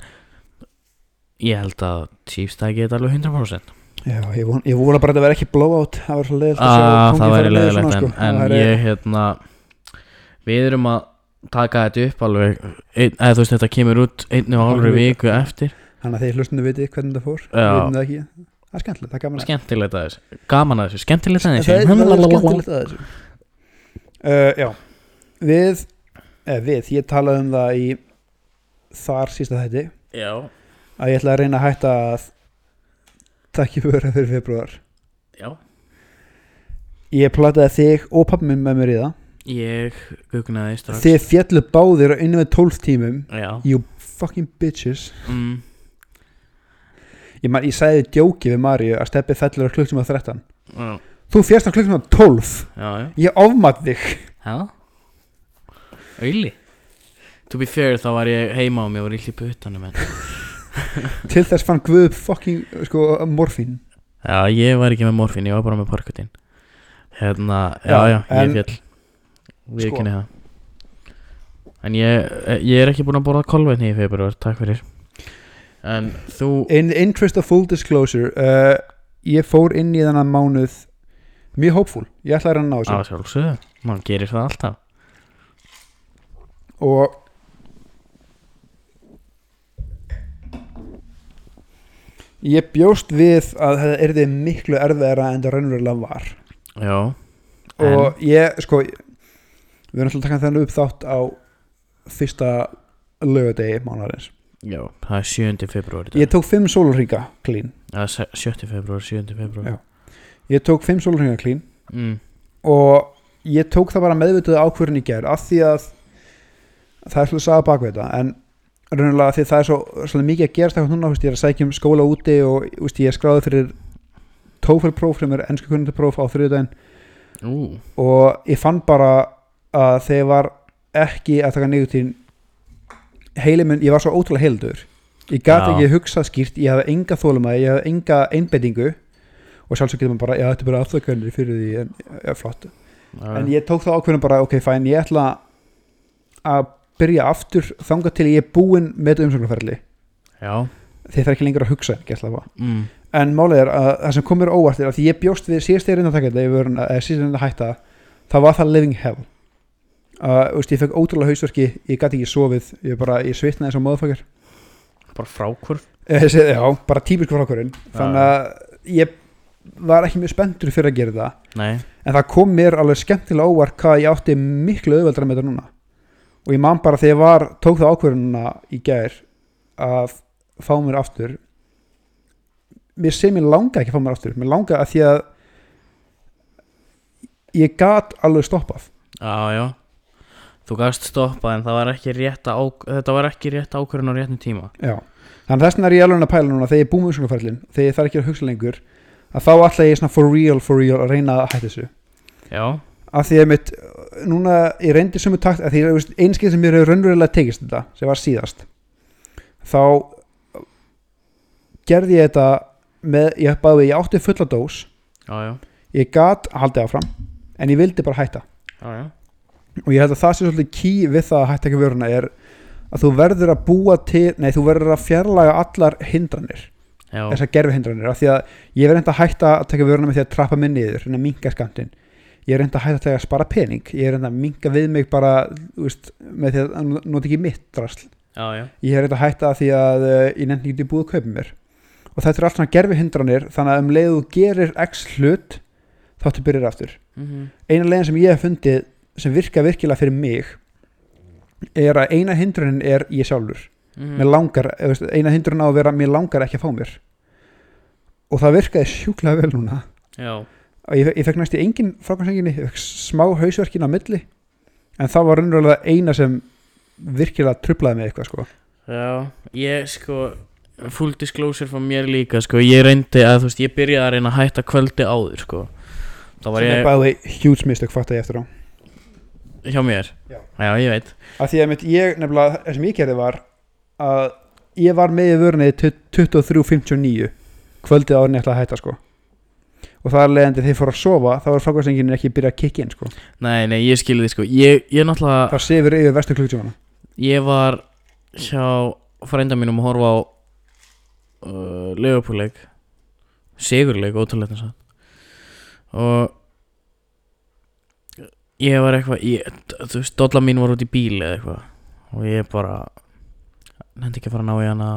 S1: ég held að Chiefs taki þetta alveg 100%
S2: Já, ég vona, ég vona bara að það verði ekki blowout það verður svo leiðilegt að sjá
S1: að Ah,
S2: kónginn
S1: það
S2: fara
S1: væri
S2: niður
S1: leðilegt
S2: svona,
S1: en,
S2: sko.
S1: en
S2: Það væri-
S1: ég hérna við erum að taka þetta upp alveg ein, eða þú veist þetta kemur út einu og hálfri
S2: Hálfri
S1: viku eftir
S2: Þannig að þeir hlustinu viti hvernig það fór
S1: Já.
S2: Við vitum það ekki Það er skemmtilegt, það er gaman að-
S1: skemmtilegt að þessu, gaman að þessu skemmtilegt að
S2: En
S1: þessu
S2: það er- það er skemmtilegt að þessu uh, Já, við eh, Við, ég talaði um það í þar sísta þætti
S1: já,
S2: að ég ætla að reyna að hætta að takk ég fyrir fyrir februar
S1: já
S2: Ég plataði þig og pappi minn með mér í það
S1: Ég gugnaði strax
S2: Þið fjallu báðir á innan við 12 tímum
S1: Já
S2: You fucking bitches
S1: mm.
S2: Ég, man, ég sagði djóki við Maríu að steppi fellur á klukktíma 13
S1: Já,
S2: Þú fjast á klukktíma 12
S1: já
S2: Ég ofmat þig
S1: Já Auðli To be fair þá var ég heima og mér var illt í puttanum en
S2: Til þess fann Guð upp fucking sko, morfín
S1: Já, ég var ekki með morfin, ég var bara með parkutin Hérna, já,
S2: Já,
S1: já, ég
S2: en-
S1: fjall Við
S2: Sko.
S1: ekki neða En ég, ég er ekki búin að borða kolvetni í februar, takk fyrir En þú
S2: In interest of full disclosure uh, Ég fór inn í þennan mánuð Mjög hópfúl, ég ætla að reyna að ná
S1: Á
S2: þessu
S1: sjálfsögðu, maður gerir það alltaf
S2: Og Ég bjóst við að þetta erði miklu erfiðara en það raunverulega var
S1: Já En-
S2: og ég sko við erum alltaf að taka þennan upp þátt á fyrsta lögadegi mánarins
S1: Já, það er 7. februar í dag
S2: ég tók fimm sólurringa klín
S1: Já, se- 7. februar, 7. februar
S2: Já. ég tók fimm sólurringa klín
S1: mm.
S2: og ég tók það bara meðvituð ákvörðin í gerð af því að það er svolítið saga bakveg þetta en raunlega því það er svo svolítið mikið að gerast eitthvað núna, þú veist, ég er að sækja um skóla úti og þú veist, ég er skráðið fyrir TOEFL-próf sem er ennsku kunnundapróf á þriðudaginn
S1: Ú,
S2: og ég fann bara að þegar ég var ekki að taka neygutín heili minn, ég var svo ótrúlega heildur ég gat
S1: Já.
S2: ekki hugsað skýrt, ég hafði enga þóluma ég hafði enga einbendingu og sjálfsög getur maður bara, já þetta er bara afþökkunir fyrir því, en, ja, flott en ég tók þá ákveðin bara, ok fæn, ég ætla að byrja aftur þangað til ég er búinn með þetta umsögnarferli
S1: já
S2: þeir þarf ekki lengur að hugsa, ekki ætla að
S1: mm.
S2: en málið er að það sem komur óvart er að því ég bjóst við síðast ég reyndi að taka þetta yfir, eða síðast ég reyndi að hætta það var það living hell *laughs* uh, veist, ég fekk ótrúlega hausverki, ég gæti ekki sofið ég bara, ég svitnaði eins og móðfakar
S1: bara frákvörf
S2: Þessi, Eh, já, bara típisku frákurinn þannig að ég var ekki mjög spenntur fyrir að gera það
S1: Nei,
S2: en það kom mér alveg skemmtilega óvart hvað ég átti miklu auðveldra með þetta núna og ég man bara þegar ég var tók það ákvörðununa í gær að fá mér aftur mér sem ég langa ekki að fá mér aftur mér langa að því að ég gat alveg stoppað
S1: já, já Þú gafst stoppað en það var ekki rétt ák þetta var ekki rétt ákvörðin á réttum tíma
S2: Já, þannig þess vegna er ég alveg að pæla núna þegar ég er búið með umsögnarferlin, þegar ég þarf ekki að hugsa lengur að þá ætla ég svona for real, for real að reyna að hætta þessu
S1: Já,
S2: af því að mitt, núna ég reyndi sumu takt, af því að einskið sem mér hefur raunverulega tekist þetta, sem var síðast þá gerði ég þetta með, ég bæði, ég átti fulla dós
S1: já, já,
S2: ég gat haldið áfram en ég vildi bara hætta
S1: já, já.
S2: og ég held að það sé svolítið ký við það að hætta ekki vöruna er að þú verður að búa til, nei þú verður að fjarlæga allar hindranir
S1: já.
S2: þessar gerfihindranir af því að ég er reynd að hætta að taka vöruna með því að trappa mig niður, reynd að minka skamtinn ég er reynd að hætta að taka að spara pening ég er reynd að minka við mig bara þú veist, með því að nota ekki mitt drasl
S1: já, já.
S2: ég er reynd að hætta að því að eh, ég nefndi ekki búið að kaupa mér og þetta er allt svona gerfihindranir þannig að um leið þú gerir x hlut þá þú byrjar aftur
S1: Mhm.
S2: eina leiðin sem ég hef fundið sem virka virkilega fyrir mig er að eina hindrunin er ég sjálfur
S1: Mhm.
S2: mér langar, eða, veist, eina hindrun á að vera mér langar ekki að fá mér og það virkaði sjúklega vel núna
S1: Já,
S2: og ég, ég fekk næst í engin frákvæmsenginni, ég fekk smá hausverkin á milli en það var raunverulega eina sem virkilega trublaði með eitthvað sko
S1: já, ég sko full disclosure frá mér líka sko, ég reyndi að þú veist, ég byrjaði að reyna að hætta kvöldi áður sko þá var
S2: sem
S1: ég
S2: er bæði huge mistök fatt að ég eftir á
S1: hjá mér
S2: Já.
S1: ég veit
S2: af því að mitt ég nefnilega, það sem ég gerði var að ég var með í vörunni til 23.59 kvöldið árin ég ætlaði að hætta sko og það er leiðandi þegar ég fór að sofa þá var frákvæmsenginni ekki byrjað að kikki inn sko
S1: Nei, nei, ég skilði því sko Ég, ég náttúrulega,
S2: það sefur yfir vestu klukktímana
S1: ég var hjá frænda mínum að horfa á uh, Leopoldleik Sigurleik, ótrúlega þess að og ég var eitthvað ég- þú veist, dolla mín var út í bíl eða eitthvað og ég bara nefndi ekki að fara að ná í hana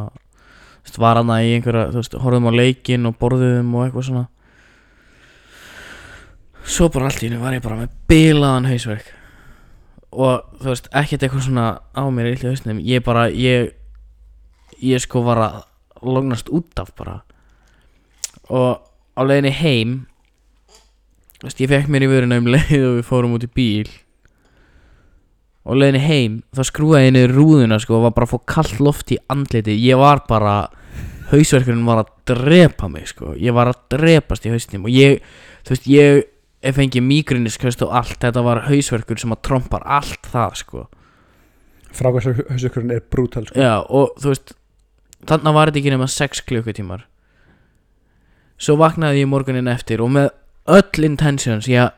S1: þú veist, var hana í einhverja, þú veist, horfðum á leikinn og borðum og eitthvað svona svo bara allt í henni var ég bara með bilaðan hausverk og þú veist, ekkert eitthvað svona á mér illa í hausnum, ég bara ég, ég sko var að lognast út af bara og á leiðinni heim þú veist, ég fekk mér í vöruna um leið og við fórum út í bíl og leiðinni heim þá skrúaði ég niður rúðuna sko og var bara að fá kallt loft í andliti ég var bara, hausverkurinn var að drepa mig sko, ég var að drepast í hausnum og ég, þú veist, ég ef fengi mígriniskast og allt þetta var hausverkur sem að trompar allt það sko
S2: frákvæmshausökurinn er brútal sko.
S1: já og þú veist þannig var þetta ekki nema 6 klukkutímar svo vaknaði ég morgunin eftir og með öll intentions ég að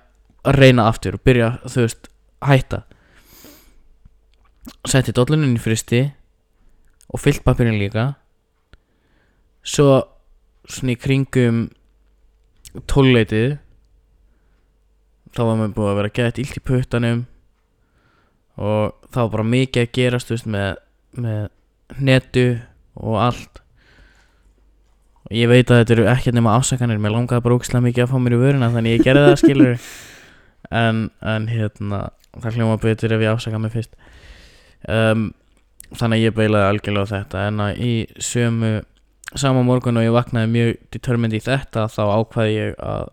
S1: reyna aftur og byrja þú veist hætta setti dollunin í fristi og fyllt pappirinn líka svo svona í kringum tólleitið þá var maður búið að vera gett illt í puttanum og það var bara mikið að gerast þú veist, með, með netu og allt og ég veit að þetta eru ekkert nema afsakanir mér langaði bara ógislega mikið að fá mér í vöruna þannig ég gerði það skilur en, en hérna það hljóma betur ef ég afsaka mig fyrst um, þannig að ég beilaði algjörlega á þetta en að í sömu sama morgun og ég vaknaði mjög determined í þetta þá ákvaði ég að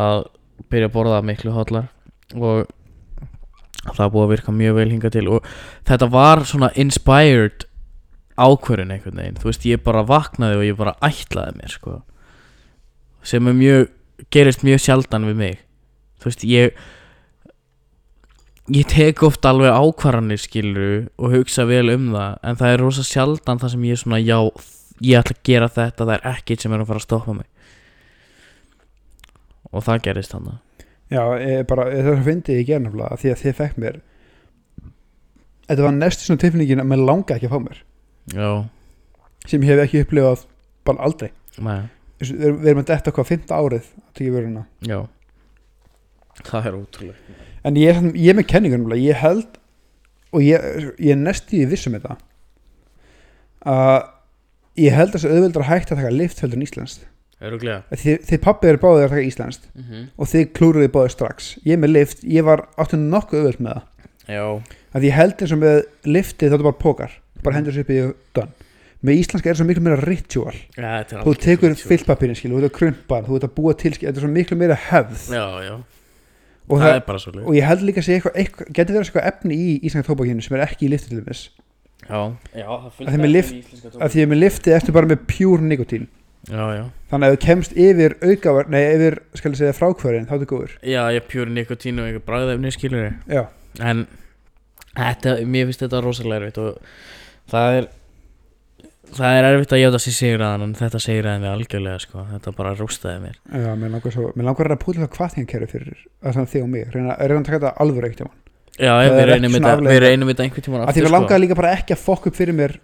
S1: að byrja að borða miklu hotlar og það er búið að virka mjög vel hinga til og þetta var svona inspired ákvörun einhvern veginn þú veist ég bara vaknaði og ég bara ætlaði mér sko sem er mjög, gerist mjög sjaldan við mig þú veist ég ég tek oft alveg ákvarðanir skilur og hugsa vel um það en það er rosa sjaldan það sem ég er svona já, ég ætla að gera þetta það er ekkert sem er að fara að stoppa mig og það gerist þannig
S2: já, ég bara, ég- það finnst ég í gerðnafla því að þið fekk mér þetta var næstu svona tilfinningin að mér langa ekki að fá mér
S1: Já,
S2: sem ég hef ekki upplifað bara aldrei
S1: nei,
S2: Þessu- við erum- við erum að detta okkar fymta árið að tekja vöruna
S1: já Það er ótrúlega
S2: en ég, er samt- ég er með kenningunum ég held og ég, ég er næstu í vissum þetta um að ég held að það sé auðveldra hægt að taka lift heldur en íslenskt
S1: Öruglega
S2: Að þið, þið pappi eru báðið að taka íslenskt
S1: mm -hmm.
S2: og þið klúruði báðið strax ég með lift, ég var áttu nokkuð auðveld með það
S1: Já
S2: að ég held eins og með liftið þá er bara pókar bara hendur sér upp í og done með íslenska er svo miklu meira ritual
S1: Ja, þetta er
S2: þú
S1: algjör sko.
S2: tekur
S1: klisjó.
S2: fyllpapirin skil, þú ert að krumpa hann, þú ert að búa til skil, þetta er svo miklu meira hefð
S1: Já, já,
S2: og,
S1: það,
S2: það,
S1: er bara svolítið
S2: og ég held líka að segja eitthvað, eitthvað getur verið eitthvað efni í íslenska tóbakinu sem er ekki í liftið til þess
S1: Já, já það er
S2: Að þeim er efni lyft- að því að með liftið ertu bara með pure nikotín
S1: Já, já
S2: þannig að ef þú kemst yfir aukavar nei, yfir, skal ég segja, frákvörin, þá er þetta góður
S1: Já, ég pjúri nikotín og einhver bragðefni skilur ég
S2: já,
S1: En þetta, mér finnst þetta rosalega erfitt og það er Það er erfitt að játa sér sigraðan en þetta sigraðan við algjörlega sko Þetta bara rústaði mér
S2: já, mér langar, svo, mér langar að púla það hvað þín kerfi fyrir að þannig þig og mig, reyna, reyna að taka þetta alvöru eitt
S1: Já,
S2: Það
S1: ég,
S2: er
S1: við
S2: ekki
S1: reynum
S2: svona
S1: þetta, við
S2: afleiðing.
S1: reynum þetta einhvern tímann sko.
S2: að því sko- að langaði líka bara ekki að fokk upp fyrir mér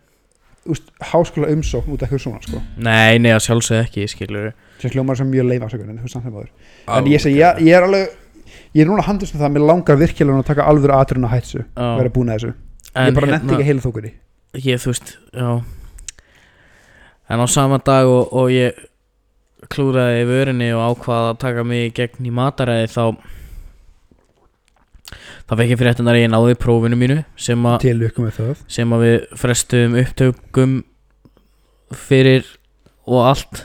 S2: úst, háskóla umsókn út af eitthvað svona sko.
S1: Nei, nei, að sjálfsög ekki, skilur
S2: sem hljómar sem mjög leif afsökun en þú samt með maður en ég segi, ég, ég er alveg ég er núna handist með það að mér langar virkilega að taka alvöru atrun að hætsu vera búin að þessu ég
S1: hérna-
S2: bara nefndi ekki heila þókunni
S1: ég þú veist já. en á sama dag og, og ég klúraði í vörinni og ákvaða að taka mig í gegn í mataræði þá þá fekk ég fréttin að ég náði prófinu mínu sem, a,
S2: til lukkum með það
S1: sem að við frestuðum upptökum fyrir og allt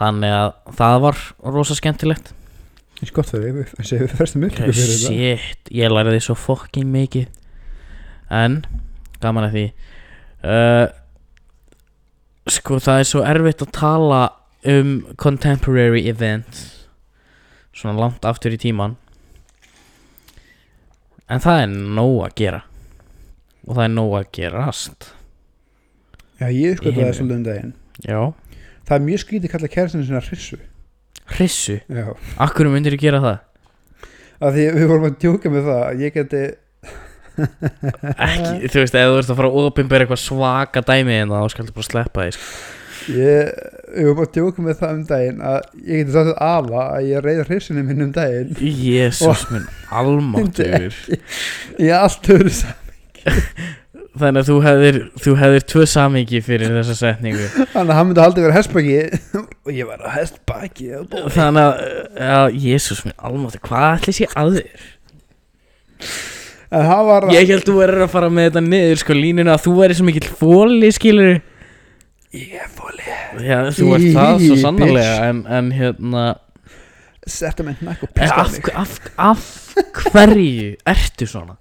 S1: þannig að það var rosa skemmtilegt
S2: eins gott fyrir við þessi við fyrstum ykkur fyrir þetta
S1: Shit, ég læriði svo fucking mikið En, gaman að því uh, Sko, það er svo erfitt að tala um contemporary events Svona langt aftur í tíman En það er nóg að gera Og það er nóg að gerast
S2: já, ég
S1: Í
S2: sko það
S1: heiminum.
S2: svolítið um daginn
S1: Já
S2: það er mjög skrítið kalla kærastinu sinna hrissu
S1: Hrissu,
S2: já
S1: akkur myndir þú gera
S2: *laughs*
S1: það?
S2: að því við vorum að djóka með það að ég geti
S1: Ekki, þú veist, ef þú ert að fara að opinbera eitthvað svaka dæmi en þá skaldu bara sleppa því sko.
S2: Ég, ég var bara að djóka með það um daginn að ég geti sagt þetta afa að ég reyði hrissunum minn um daginn
S1: Jésús minn, almáttugur
S2: í allt öðru saman
S1: Þannig að þú hefðir, þú hefðir tvö samingi fyrir þessa setningu
S2: Þannig að hann myndi haldið vera hestbaki og ég var á hestbaki og bó-
S1: Þannig að, já, jésús minn, almáttugur, hvað ætlis ég að þér?
S2: En hann var
S1: Ég held þú verður að fara með þetta niður, sko, línuna að þú verður svo mikill fóli, skilur
S2: Ég er fólið
S1: Já, þú ert það svo
S2: Í,
S1: sannarlega,
S2: bitch.
S1: en, en hérna
S2: Setta mig hnakk og
S1: eh,
S2: pista
S1: af,
S2: mig
S1: af, af hverju ertu svona?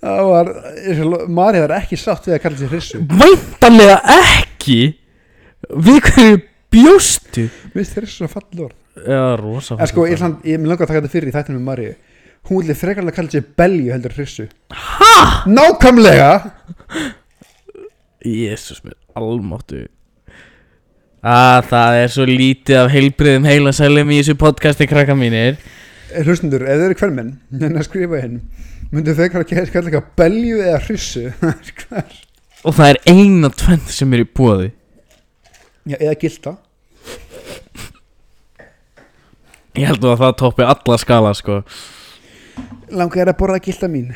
S2: Það var, eins og lo- Mari var ekki satt við að kalla sér hrissu
S1: Væntanlega ekki Við hverju bjóstu?
S2: Vist hrissu svo fallið orð
S1: Já, rosa
S2: En sko, ég, samt- ég mér langar að taka þetta fyrir í þættinu með Mari Hún vildi frekarlega kalla sér belju heldur hrissu HA? Nákvæmlega
S1: Jésús minn, almáttu að það er svo lítið af heilbriðum heilasælum í þessu podcasti krakka mínir
S2: Eh, Hlustendur, ef þau eru hvermenn En að skrifa hérna. hinn Myndu þau kalla kalla eitthvað belju eða hrissu *laughs*
S1: og það er eina tvend sem er í bóði
S2: Já, eða gilda
S1: ég held nú að það toppi alla skala sko
S2: Langar þér að borða gilda mín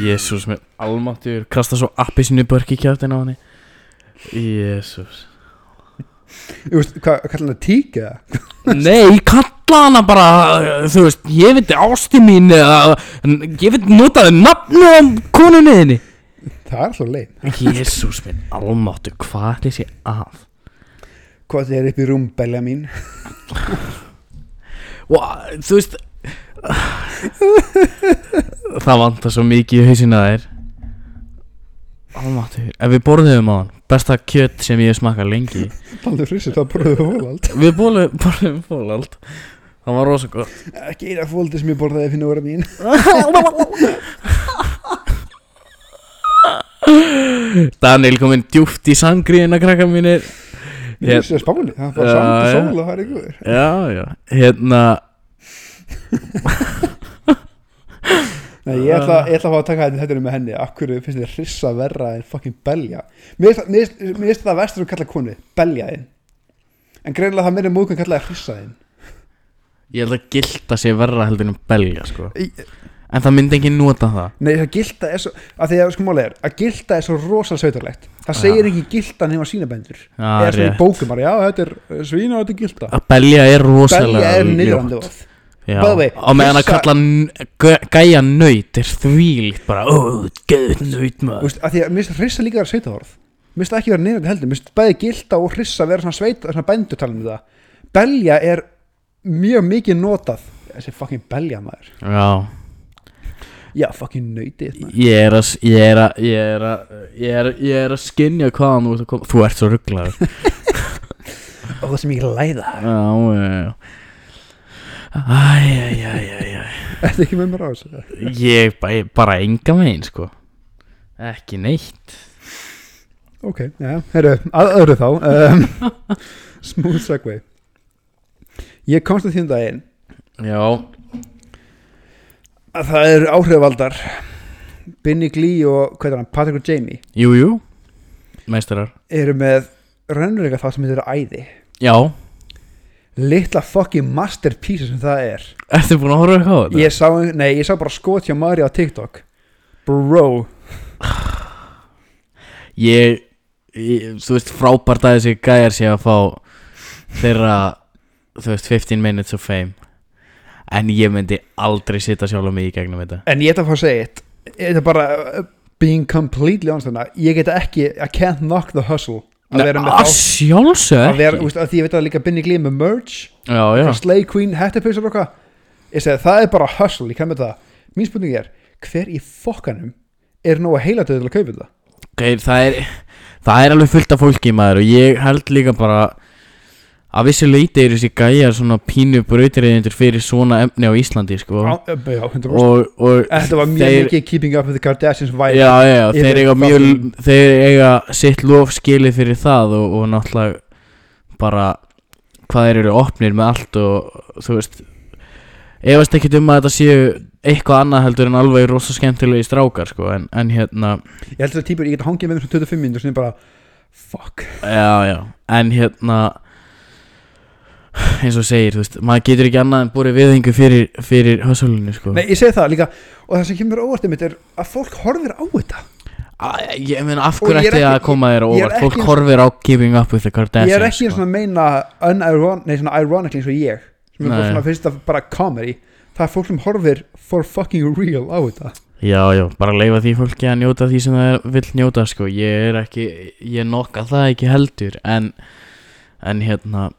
S1: Jésús minn, almáttu kasta svo appi sinni börki kjáttinn á hann Jésús
S2: Þú veist, hvað, kalla hann að tíka það?
S1: Nei, kalla hana bara uh, þú veist, ég veit ásti mín eða, n- ég veit notaði nafnu á konunni þinni
S2: Það er alltaf leið
S1: Jésús minn, almáttu hvað er þessi að
S2: Hvað þið er upp í rúm, belja mín
S1: og uh, þú veist það vantar svo mikið í hausina þær almatur ef við borðum á hann besta kjött sem ég hef smakað lengi
S2: Baldur Frissi, þá borðuðu fólald
S1: við borðum, borðum fólald það var rosa gott
S2: Ekki eina fóldi sem ég borðaði fyrir núra mín
S1: Daniel kominn djúft í sangriðina krakka mínir
S2: Ég
S1: Ég-
S2: vissi að spáli, það var
S1: Já,
S2: samt og
S1: já.
S2: sól og það er ykkur
S1: já já hérna
S2: Nei, ég ætla, ég ætla að fá að taka þetta þetta með henni Akkur finnst þið hrissa verra en fucking belja Mér finnst- mér finnst mér finnst það vestur að kalla konu Belja þinn En greinlega það meira múkan kallaði hrissa þinn
S1: ég held að gilda sé verra heldur en belja sko
S2: Í-
S1: En það myndi enginn nota það
S2: Nei, það gilda er svo, að því að sko máli er að gilda er svo rosal sveitarlegt það
S1: Já.
S2: segir ekki gilda nema sínabendur
S1: Já,
S2: eða svo í
S1: rétt.
S2: bókum bara, já, þetta er eh, svína og þetta er gilda
S1: Að belja er rosalega
S2: Belja er
S1: ljótt.
S2: niðrandi orð
S1: Já,
S2: By the way,
S1: á meðan að
S2: hissa-
S1: kalla n- gæ- gæja nöyt er þvílíkt bara Ó, gæja nöyt
S2: Þú
S1: maður
S2: veist, að því að mér finnst hrissa líka að vera sveitaorð Mér finnst það ekki vera neyrandi heldur Mér finnst bæði gilda og hrissa vera svona sveita svona bændur tala um það belja er mjög mikið notað þessi fucking belja maður
S1: Já,
S2: já fucking nöyti þetta, maður.
S1: ég er að s- ég er að ég er að ég er, ég er að skinja hvaðan þú ert að koma Þú ert svo rugglaður
S2: *laughs* og það sem ég læða *laughs*
S1: Já, já, já Æ, æ, æ, æ, æ
S2: Þetta ekki með mér á þessu
S1: Ég bara, bara enga megin sko Ekki neitt
S2: ok, já, herru, að öðru þá um, smooth segway ég komst að því um daginn
S1: Já
S2: að það eru áhrifaldar Binni Glee og hvað er hann, Patrick og Jamie
S1: Jú, jú Meistarar
S2: eru með raunveruleika það sem þetta er æði
S1: Já
S2: litla fucking masterpiece sem það er
S1: Ertu búin að horfa eitthvað á þetta?
S2: ég sá, nei, ég sá bara skot hjá Mari á TikTok bro
S1: ég, ég Þú veist frábært að þessi gæjar sé að fá Þeirra Þú veist 15 minutes of fame En ég myndi aldrei sitta sjálf mig í gegnum þetta
S2: en ég ætla að fá að segja eitt þetta er bara uh, being completely honest þarna ég get ekki, I can't knock the hustle að vera með
S1: að
S2: þá
S1: sjálfsög
S2: að vera, úst, að því ég veit að líka Binni Glee er með merch
S1: Já, já
S2: frá Slay Queen, hættapisar og eitthvað ég segi það er bara hustle, ég kemur það mín spurning er, hver í fokkanum er nógu heilatöð til að kaupa þetta
S1: Geir, það, er, það er alveg fullt af fólki maður og ég held líka bara að vissu leiti eru þessi gæjar svona pínu brautiriðindur fyrir svona efni á Íslandi sko
S2: Á- eh, já, 100%.
S1: og, og
S2: þetta var mjög
S1: þeir,
S2: mikið keeping up with the Kardashians vibe
S1: já, já,
S2: yfir
S1: þeir eiga mjög
S2: fucking-
S1: þeir eiga sitt lof skilið fyrir það og, og náttúrulega bara hvað þeir eru opnir með allt og þú veist efast ekkert um að þetta séu eitthvað annað heldur en alveg rosa skemmtilegi strákar sko en, en hérna
S2: ég held að það típur, ég get hangið með þeim svona 25 minnur sem er bara, fuck
S1: Já, já, en hérna eins og þú segir, þú veist, maður getur ekki annað en borið viðhengu fyrir, fyrir hösölinu, sko
S2: Nei, ég segi það líka og það sem kemur óvart einmitt er að fólk horfir á þetta
S1: A, Ég meina, af
S2: Og
S1: hverju
S2: Sko, ég er
S1: ætti það að
S2: ekki-
S1: koma þér á
S2: ég er
S1: óvart? Fólk
S2: ekki-
S1: horfir á Keeping Up with the Kardashians sko.
S2: Ég er ekki eins og að meina uniron, nei, svona ironically eins og ég sem er bara
S1: Nei.
S2: svona fyrst að bara comedy það er fólk sem horfir for fucking real á þetta
S1: Já, já, bara leifa því fólki að njóta því sem það er- vill njóta, sko Ég er ekki, ég nokka það ekki heldur En, en hérna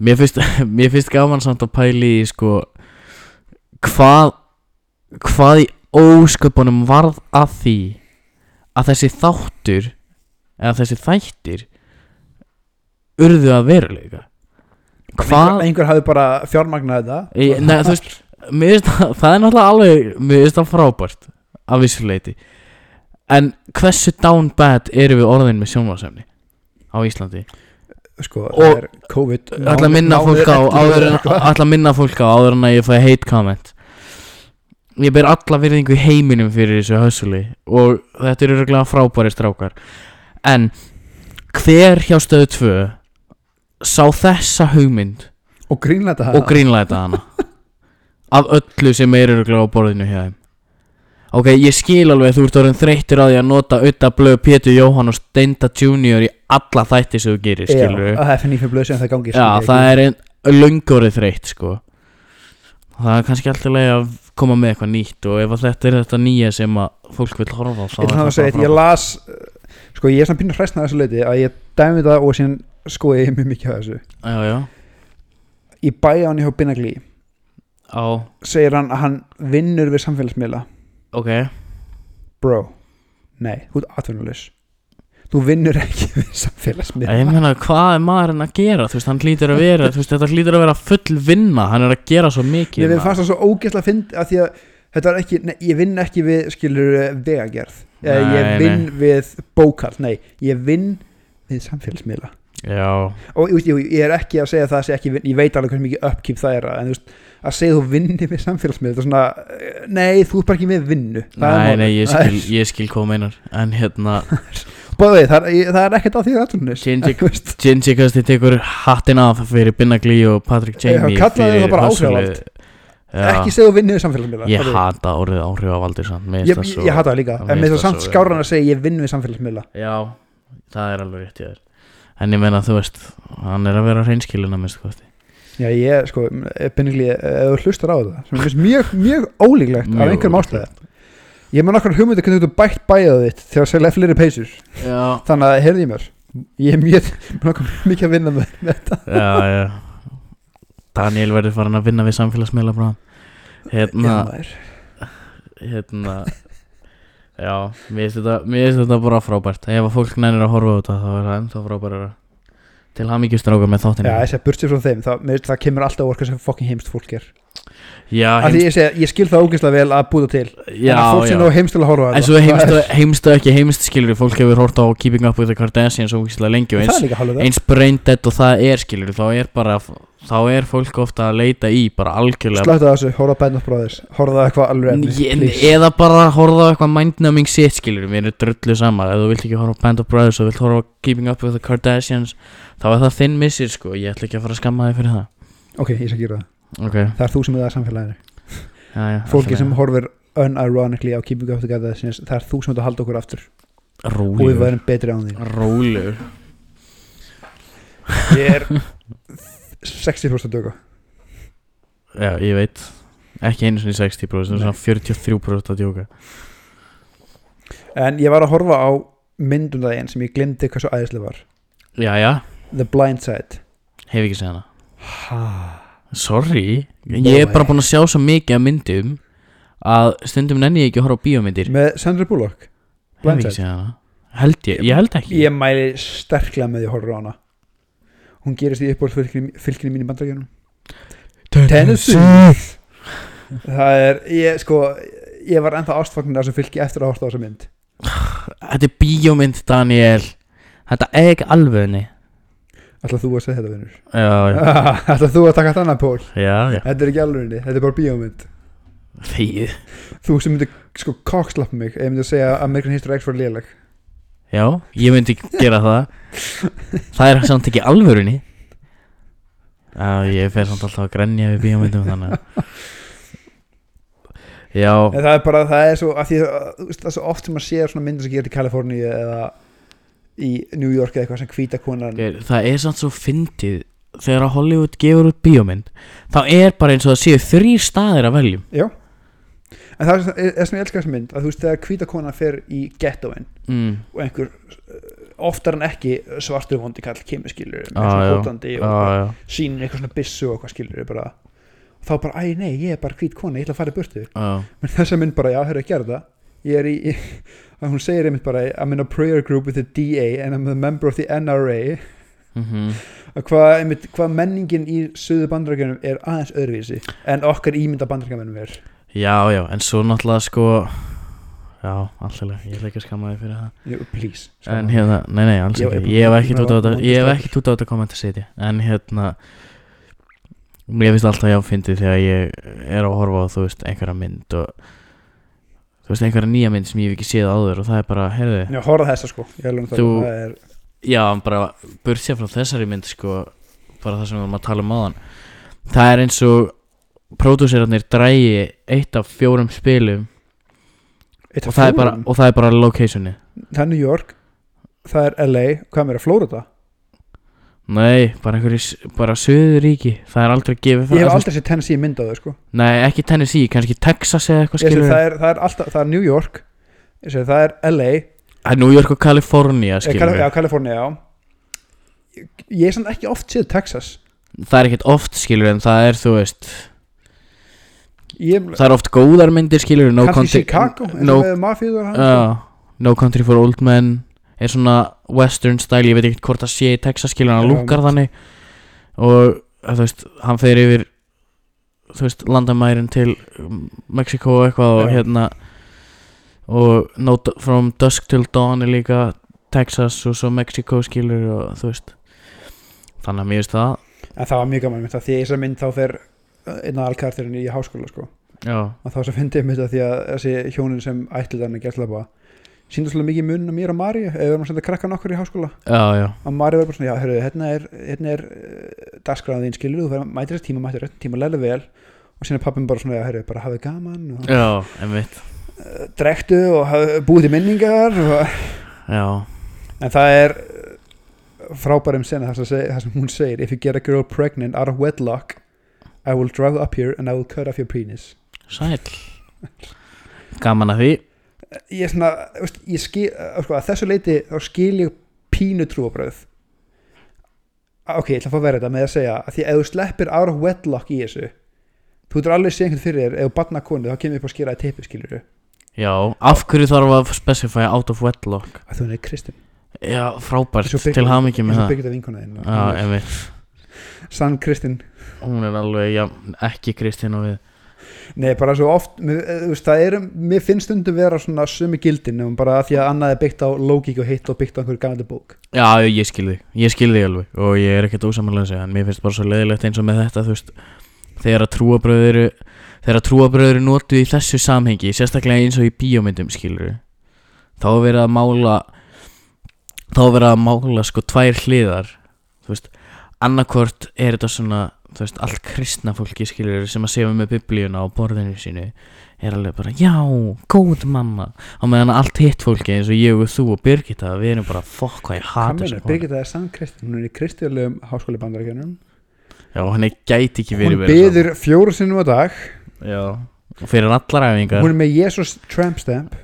S1: Mér finnst, *laughs* mér finnst gaman samt að pæli í, sko Hvað, hvað í ósköpunum varð að því að þessi þáttur eða þessi þættir urðu að veruleika
S2: einhver,
S1: hvað
S2: einhver hafi bara fjármagnað þetta Sko,
S1: Ég- nei, þú veist, mér finnst það, það er náttúrulega alveg mér finnst það frábært af vissu leiti en hversu down bad eru við orðin með sjónvarsemni á Íslandi
S2: *laughs* sko,
S1: og-
S2: það er COVID
S1: ætla að minna
S2: námið-
S1: fólk á
S2: námið-
S1: áður en ætla að minna fólk á áður en að ég fæ hate comment ég ber alla virðingu í heiminum fyrir þessu hösuli og þetta eru reglega frábæri strákar en hver hjá stöðu 2 sá þessa hugmynd
S2: og grínlega
S1: og grínlæta hana af öllu sem er öruglega á borðinu hjá þeim ok, ég skil alveg að þú ert orðin þreyttur á því að nota Udda Blöð, Pétur Jóhann og Steinda Junior í alla þætti sem þú gerir, skilur
S2: já, það er fyrir nýfjör blöð sem það gangi
S1: Já, það er ein löngorið þreytt sko Það er kannski alltaf leið að koma með eitthvað nýtt og ef að þetta er þetta nýja sem að fólk vil horfa á þá
S2: ég ætla að segja, eitt, ég las uh, sko, ég er svona pínur hræstnað þessu leiti að ég dæmi það og síðan skoði ég mjög mikið af þessu
S1: Já, já,
S2: í bæjan hjá Binagli
S1: á,
S2: segir hann að hann vinnur við samfélagsmiðla
S1: ok
S2: bro, nei, þú ert atvinnulegs þú vinnur ekki *laughs* við samfélagsmiðla
S1: Ég meina, hvað er maðurinn að gera? Þú veist, hann hlýtur að vera, þú veist, þetta hlýtur að vera full vinna Hann er að gera svo mikið
S2: ég við
S1: maður.
S2: fannst það svo ógeðslega fynd að því að þetta er ekki, nei, ég vinn ekki við skilur vegagerð nei,
S1: Nei,
S2: ég vinn við bókald, nei ég vinn við samfélagsmiðla
S1: Já,
S2: og ég, ég, ég er ekki að segja það sé ekki, vin- ég veit alveg hversu mikið uppkip það er en þú veist, að segja þú vinnir við samfélagsmiðla þetta er svona, eh, nei, þú ert bara ekki með vinnu Það er
S1: nei,
S2: málið.
S1: nei, ég
S2: Það er-
S1: skil,
S2: *laughs*
S1: ég skil hvað þú meinar En hérna,
S2: Bæði, það, er- ég- það er ekkert að því aðtunnis *laughs*
S1: Shinji- Jinji Kasti tekur hattin af fyrir Binna Glee og Patrick
S2: Já,
S1: Jamie
S2: kallaði
S1: fyrir
S2: það bara
S1: hustlið.
S2: áhrifavald. ekki segja þú vinnið samfélagsmiðla
S1: Ég
S2: Þetta er-
S1: hata orðið áhrifavaldi samt, mér
S2: ég,
S1: finnst það
S2: ég,
S1: svo
S2: ég hata það líka
S1: það
S2: en
S1: mér
S2: með
S1: finnst
S2: það
S1: það
S2: samt
S1: svo-
S2: skárran að segja ég vinn við samfélagsmiðla
S1: Já, það er alveg rétt ég er En ég meina þú veist, hann er að vera hreinskilin að minnstu kosti
S2: já ég sko, bennigli, ef þú hlustar á þetta sem er finnst mjög, mjög ólíklegt af
S1: Mjög
S2: einhverjum ástæði ég með nokkar hugmyndu hvernig þú getur bætt bæðið þitt þegar að selja fleiri peysur
S1: Já,
S2: þannig að heyrði ég mér ég er mjög, *laughs* mig langar mikið að vinna með þetta
S1: já, já Daniel verður farin að vinna við samfélagsmiðla bráðum. Hérna,
S2: Já, maður.
S1: hérna Já, mér finnst þetta, mér finnst þetta bara frábært Ef að fólk nænir að horfa á þetta þá er það ennþá frábæra Til hamingjustráka með
S2: já,
S1: þáttinu
S2: þess að burtið frá þeim það, það kemur alltaf orka sem fucking heimst fólk er
S1: já,
S2: Af
S1: heimst,
S2: því ég, segi, ég skil það ógeðslega vel að búta til
S1: já,
S2: en að
S1: já.
S2: fólk sem þá heimst til að horfa á
S1: En
S2: þetta,
S1: svo
S2: það
S1: heimst,
S2: er-
S1: heimst og ekki heimst skilur Fólk hefur hort á Keeping Up with the Kardashians og hvíslega lengi og
S2: það
S1: eins,
S2: er líka hálfur það
S1: eins braindead og það er skilur þá er bara, þá er fólk ofta að leita í bara algjörlega
S2: Slæta þessu, horfa að bænum bróðis Horfa að eitthvað alveg
S1: N-
S2: efni,
S1: ég-
S2: please.
S1: eða bara horfa á eitthvað mindnumbing shit skilur mér er drullu sama ef þú vilt ekki horfa á Band of Brothers og vilt horfa á Keeping Up with the Kardashians þá er það þinn missir sko ég ætla ekki að fara að skamma þig fyrir það
S2: Ok, ég skal gera það
S1: ok
S2: Það er þú sem er það samfélaginu
S1: já, já,
S2: Fólki sem horfir unironically á Keeping Up Together sinns, Það er þú sem ert að halda okkur aftur Og við
S1: rólegur
S2: verðum betri án
S1: *laughs*
S2: þín
S1: rólegur
S2: Ég er 60% að döga
S1: já ég veit ekki einu sinni 60%
S2: Nei.
S1: svona 43% að djóka
S2: En ég var að horfa á myndum það einn sem ég glemdi hvað svo æðislega var
S1: já já
S2: The Blind Side
S1: hef ekki segjað hana
S2: ha.
S1: sorry
S2: Boy.
S1: ég er bara búin að sjá svo mikið af myndum að stundum nenni ég ekki að horfa á bíómyndir
S2: Með Sandra Bullock
S1: hef
S2: Blind
S1: ekki
S2: Side
S1: segjað hana held ég ég held ekki
S2: Ég mæli sterklega með því að horfa á hana Hún gerist í uppbólf fylkinni mín í bandarækjunum Tennessee Það er, ég sko Ég var ennþá ástfagnin af þessu fylki eftir að horta á þessa mynd
S1: Þetta er bíómynd Daniel Þetta er ekki alvöðni
S2: Ætla þú að segja þetta vinnur
S1: Já,
S2: *laughs* Ætla þú að taka þetta annan pól
S1: já, já
S2: Þetta er ekki alvegni, þetta er bara bíómynd
S1: Þýð
S2: Þú sem myndir sko kokslappa mig Ef ég myndi að segja að American History X var léleg
S1: Já, ég myndi gera það Það er samt ekki alvörunni Já, ég fer samt alltaf að grenja við bíómyndum þannig að-
S2: En
S1: Já,
S2: það er bara, það er svo af því, að, þú veist, Það er svo oft sem maður sér svona myndir sem gerir í Kaliforníu Eða í New York eða eitthvað sem hvíta konan
S1: ok, það er samt svo fyndið Þegar að Hollywood gefur út bíómynd Þá er bara eins og það séu þrýr staðir að veljum
S2: Já En það er, er, er sem ég elska þessa mynd Að þú veist, þegar hvíta konan fer í ghettoin
S1: mm.
S2: og einhver uh, oftar en ekki svartur vondi kall kemur skilur
S1: Já, já.
S2: hótandi
S1: Já,
S2: og ah,
S1: já,
S2: sýnir eitthvað svona byssu og eitthvað skilur bara þá bara, æ nei, ég er bara hvít kona, ég ætla að fara í burtu
S1: já
S2: menn þessa mynd bara, já, hörru, gerðu það ég er í, *laughs* í að hún segir einmitt bara I'm in a prayer group with the DA and I'm a member of the NRA
S1: Mhm.
S2: að hvað, einmitt, hvað menningin í söðu bandrækjunum er aðeins öðruvísi en okkar ímynda bandrækjumennum er
S1: Já, já, en svo náttúrulega sko Já, allirlega, ég leik að skamma þig fyrir það
S2: Jú, please sko.
S1: En hérna, nei, nei, alls
S2: Ég var
S1: ekki
S2: bara
S1: Ég hef
S2: búinn
S1: ekki út
S2: að
S1: á þetta
S2: vanda
S1: Ég hef
S2: strákur.
S1: ekki út á þetta komandi setja En hérna Mér finnst alltaf já fyndið þegar ég er að horfa á þú veist einhverja mynd og þú veist einhverja nýja mynd sem ég hef ekki séð áður og það er bara, heyrðu,
S2: Já, horfa þessa sko, ég er alveg um það
S1: Þú-
S2: það er,
S1: já, en bara burt sér frá þessari mynd sko, bara það sem við varum að tala um áðan það er eins og pródúsirarnir drægi eitt af fjórum spilum og
S2: eitt af
S1: það, er bara,
S2: fjórum.
S1: og það er bara locationi
S2: það er New York það er LA, hvað meira, Florida
S1: Nei, bara einhverju, s- bara Suðuríki Það er aldrei gefið frá
S2: ég hef
S1: þú-
S2: aldrei sér Tennessee mynd á þau sko.
S1: Nei, ekki Tennessee, kannski Texas eða eitthvað
S2: Ég segi,
S1: skilur
S2: það, er, það, er alltaf, það er New York ég segi, það er LA
S1: Það er New York og California
S2: eh,
S1: skilur
S2: Kal- já, Kalifornia já. Ég- ég er samt ekki oft séð Texas
S1: Það er ekkert oft skilur en það er, þú veist
S2: ég,
S1: Það er oft góðar myndir skilur no country,
S2: kannski Chicago eins og
S1: no,
S2: með mafíu og hann, sko.
S1: uh, no Country for Old Men Er svona western style Ég veit ekkert hvort það sé í Texas skilur en
S2: Já,
S1: Hann lúkar þannig Og eh, þú veist, hann fer yfir Þú veist, landamærin til Mexiko og eitthvað og
S2: Já.
S1: hérna og no, D- From Dusk Till Dawn er líka Texas og svo Mexiko skilur og þú veist þannig að mér veist það
S2: en það var mjög gaman mynd, því að í þessari mynd þá fer eh, einn af alkartirinn í háskóla sko.
S1: já,
S2: og þá svo fyndi ég mynd að því að þessi hjónin sem ætlið hann að gert lafa síndu svolítið mikið munna mér og Mari ef við erum að senda krakkan okkur í háskóla
S1: já, já,
S2: að Mari verður bara svona, já, eh, hörru, hérna er, hérna er uh, dagskráðin þín skilur, þú verður mætir þess tíma, mætir þess tíma, lærðu vel og síðan er pappin bara svona, já, herri, bara hafið gaman og
S1: Já, einmitt
S2: uh, drektu og hafið búið til minningar og, *laughs*
S1: Já,
S2: en það er uh, frábærum sena það sem, seg- það sem hún segir if you get a girl pregnant out of wedlock I will drive up here and I will cut off your penis
S1: sæl Gaman að því
S2: ég er svona, þú veist, ég skil uh, sko, að þessu leiti þá skil ég pínu trúabröð ok, ég ætla að fá að vera þetta með að segja að því ef þú sleppir out of wedlock í þessu þú ert alveg séð einhvern fyrir þér ef þú barna konu þá kemur upp að skýra að teipi skilur þau
S1: Já, af hverju þarf að specify out of wedlock
S2: að þú er kristin
S1: Já, frábært,
S2: Eins og Birgir-
S1: til hamingi
S2: eins
S1: með
S2: og
S1: það
S2: byrgir þetta vinkona þinn
S1: Já, einmitt,
S2: sann kristin
S1: hún er alveg, já, ekki Kristín og við
S2: Nei, bara svo oft, mér, eh, þú veist, það er, mér finnst stundum vera svona sömu gildin um bara að því að annað er byggt á lógík og hitt og byggt á einhverju gamandi bók.
S1: Já, ég skil þig, ég skil þig alveg og ég er ekkert ósamanlega að segja en mér finnst bara svo leiðilegt eins og með þetta þú veist, þegar að trúabröður eru þegar að trúabröður eru notuð í þessu samhengi sérstaklega eins og í bíómyndum skilur þá er verið að mála þá er verið að mála sko tvær hliðar þú veist, annarkvort er þetta svona þú veist, allt kristna fólki skilur sem að sefa með biblíuna á borðinu sínu er alveg bara, já, góð mamma á meðan allt hitt fólki eins og ég og þú og Birgitta, við erum bara fokk hvað ég hata
S2: Kaminu,
S1: þessa konu."
S2: Birgitta er sann kristin, hún er í kristiðulegum háskóli bandarækjanum.
S1: Já, hann er gæti ekki
S2: Hún
S1: verið verið
S2: byður fjóru sinnum á dag,
S1: saman. Já, og fyrir allar æfingar
S2: hún er með Jesus tramp stamp,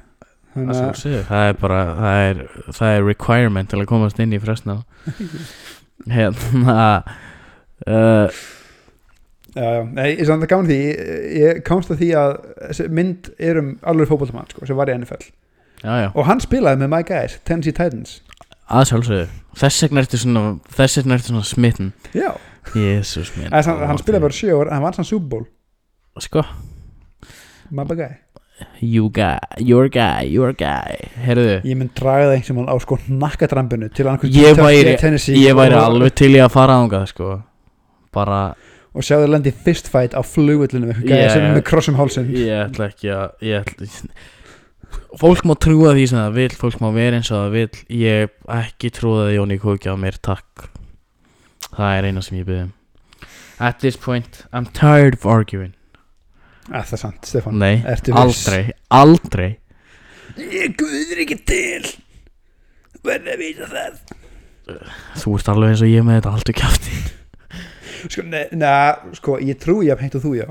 S2: þannig
S1: það,
S2: að
S1: sé, það er bara það er, það er requirement til að komast inn í
S2: *laughs*
S1: fresna Hérna uh,
S2: Já, já, nei, ég samt að gaman því, ég, ég komst að því að þessi mynd er um alveg fótbollmann, sko, sem var í NFL.
S1: Já, já,
S2: Og hann spilaði með My Guys, Tennessee Titans.
S1: að sjálfsögðu Þess vegna ertu svona Þess vegna ertu svona smitten
S2: Já,
S1: Jésús minn
S2: Æ, hann, hann spilaði bara sjö ár, hann vann sann Super Bowl,
S1: Sko,
S2: My Guy.
S1: you guy, your guy, your guy Herðu,
S2: ég mynd draga það einhversum á sko nakkadrambinu til annað
S1: Ég væri-
S2: Tennessee
S1: ég væri
S2: og,
S1: alveg til í að fara ángað sko Bara,
S2: og sjá þau lendi fist fight á flugullinu með
S1: Já,
S2: gæja sem
S1: já.
S2: er með krossum hálsinn
S1: ég ætla ekki að ég ætla, fólk má trúa því sem það vil fólk má vera eins og það vil ég ekki trúa því Jóni Kóki á mér takk það er eina sem ég byrði at this point I'm tired of arguing
S2: að það er sant Stefán
S1: nei,
S2: Ertu viss?
S1: aldrei, aldrei
S2: ég guður ekki til verði að vita það
S1: þú ert alveg eins og ég með þetta aldrei kjátti
S2: sko, ne, na, sko ég trúi jafn heitt og þú já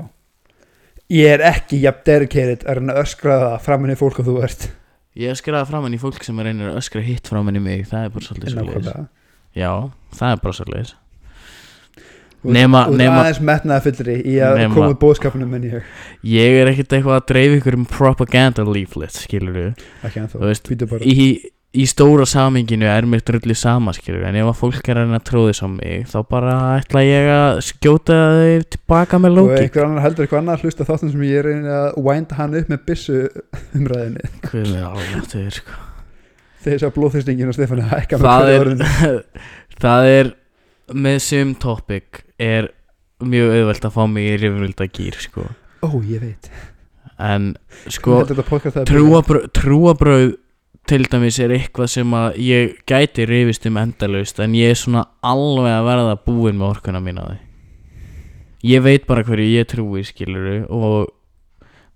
S2: ég er ekki jafn dedicated að reyna að öskra það framinni fólk og þú ert
S1: ég hef skrifaði fram henni fólk sem reynir að öskra hitt fram henni mig það er bara svolítið svolítið
S2: Nákvæmlega.
S1: já, það er bara svolítið
S2: Þú ert-
S1: Nema-
S2: þú ert
S1: nema-
S2: aðeins metnaða fullri í að
S1: Nema-
S2: koma úr bóðskapunum en ég
S1: ég er ekkert eitthvað að dreif ykkur um propaganda leaflet skilur við
S2: ekki ennþá
S1: Þú veist,
S2: Tweetu bara.
S1: í, í stóra saminginu er mér drullu sama skilur en ef að fólk er að reyna að tróði á mig þá bara ætla ég að skjóta þau tilbaka með
S2: og
S1: lóki
S2: einhver annar heldur eitthvað annað að hlusta á þáttum sem ég er reyna að wænda hann upp með byssu umræðinni
S1: Guð minn almáttugur, sko.
S2: þegar þess að blóðþyrstingin og Stefán er að hækka með
S1: það er
S2: hverju orðinu.
S1: *laughs* það er með sum topic er mjög auðvelt að fá mig í rifrilda gýr sko.
S2: ó ég veit
S1: en sko
S2: Ég held að þetta podcast hafi byrjað.
S1: trúabröð, trúabröð til dæmis er eitthvað sem að ég gæti rifist um endalaust en ég er svona alveg að verða búinn með orkuna mín á því ég veit bara hverju ég trúi skiluru og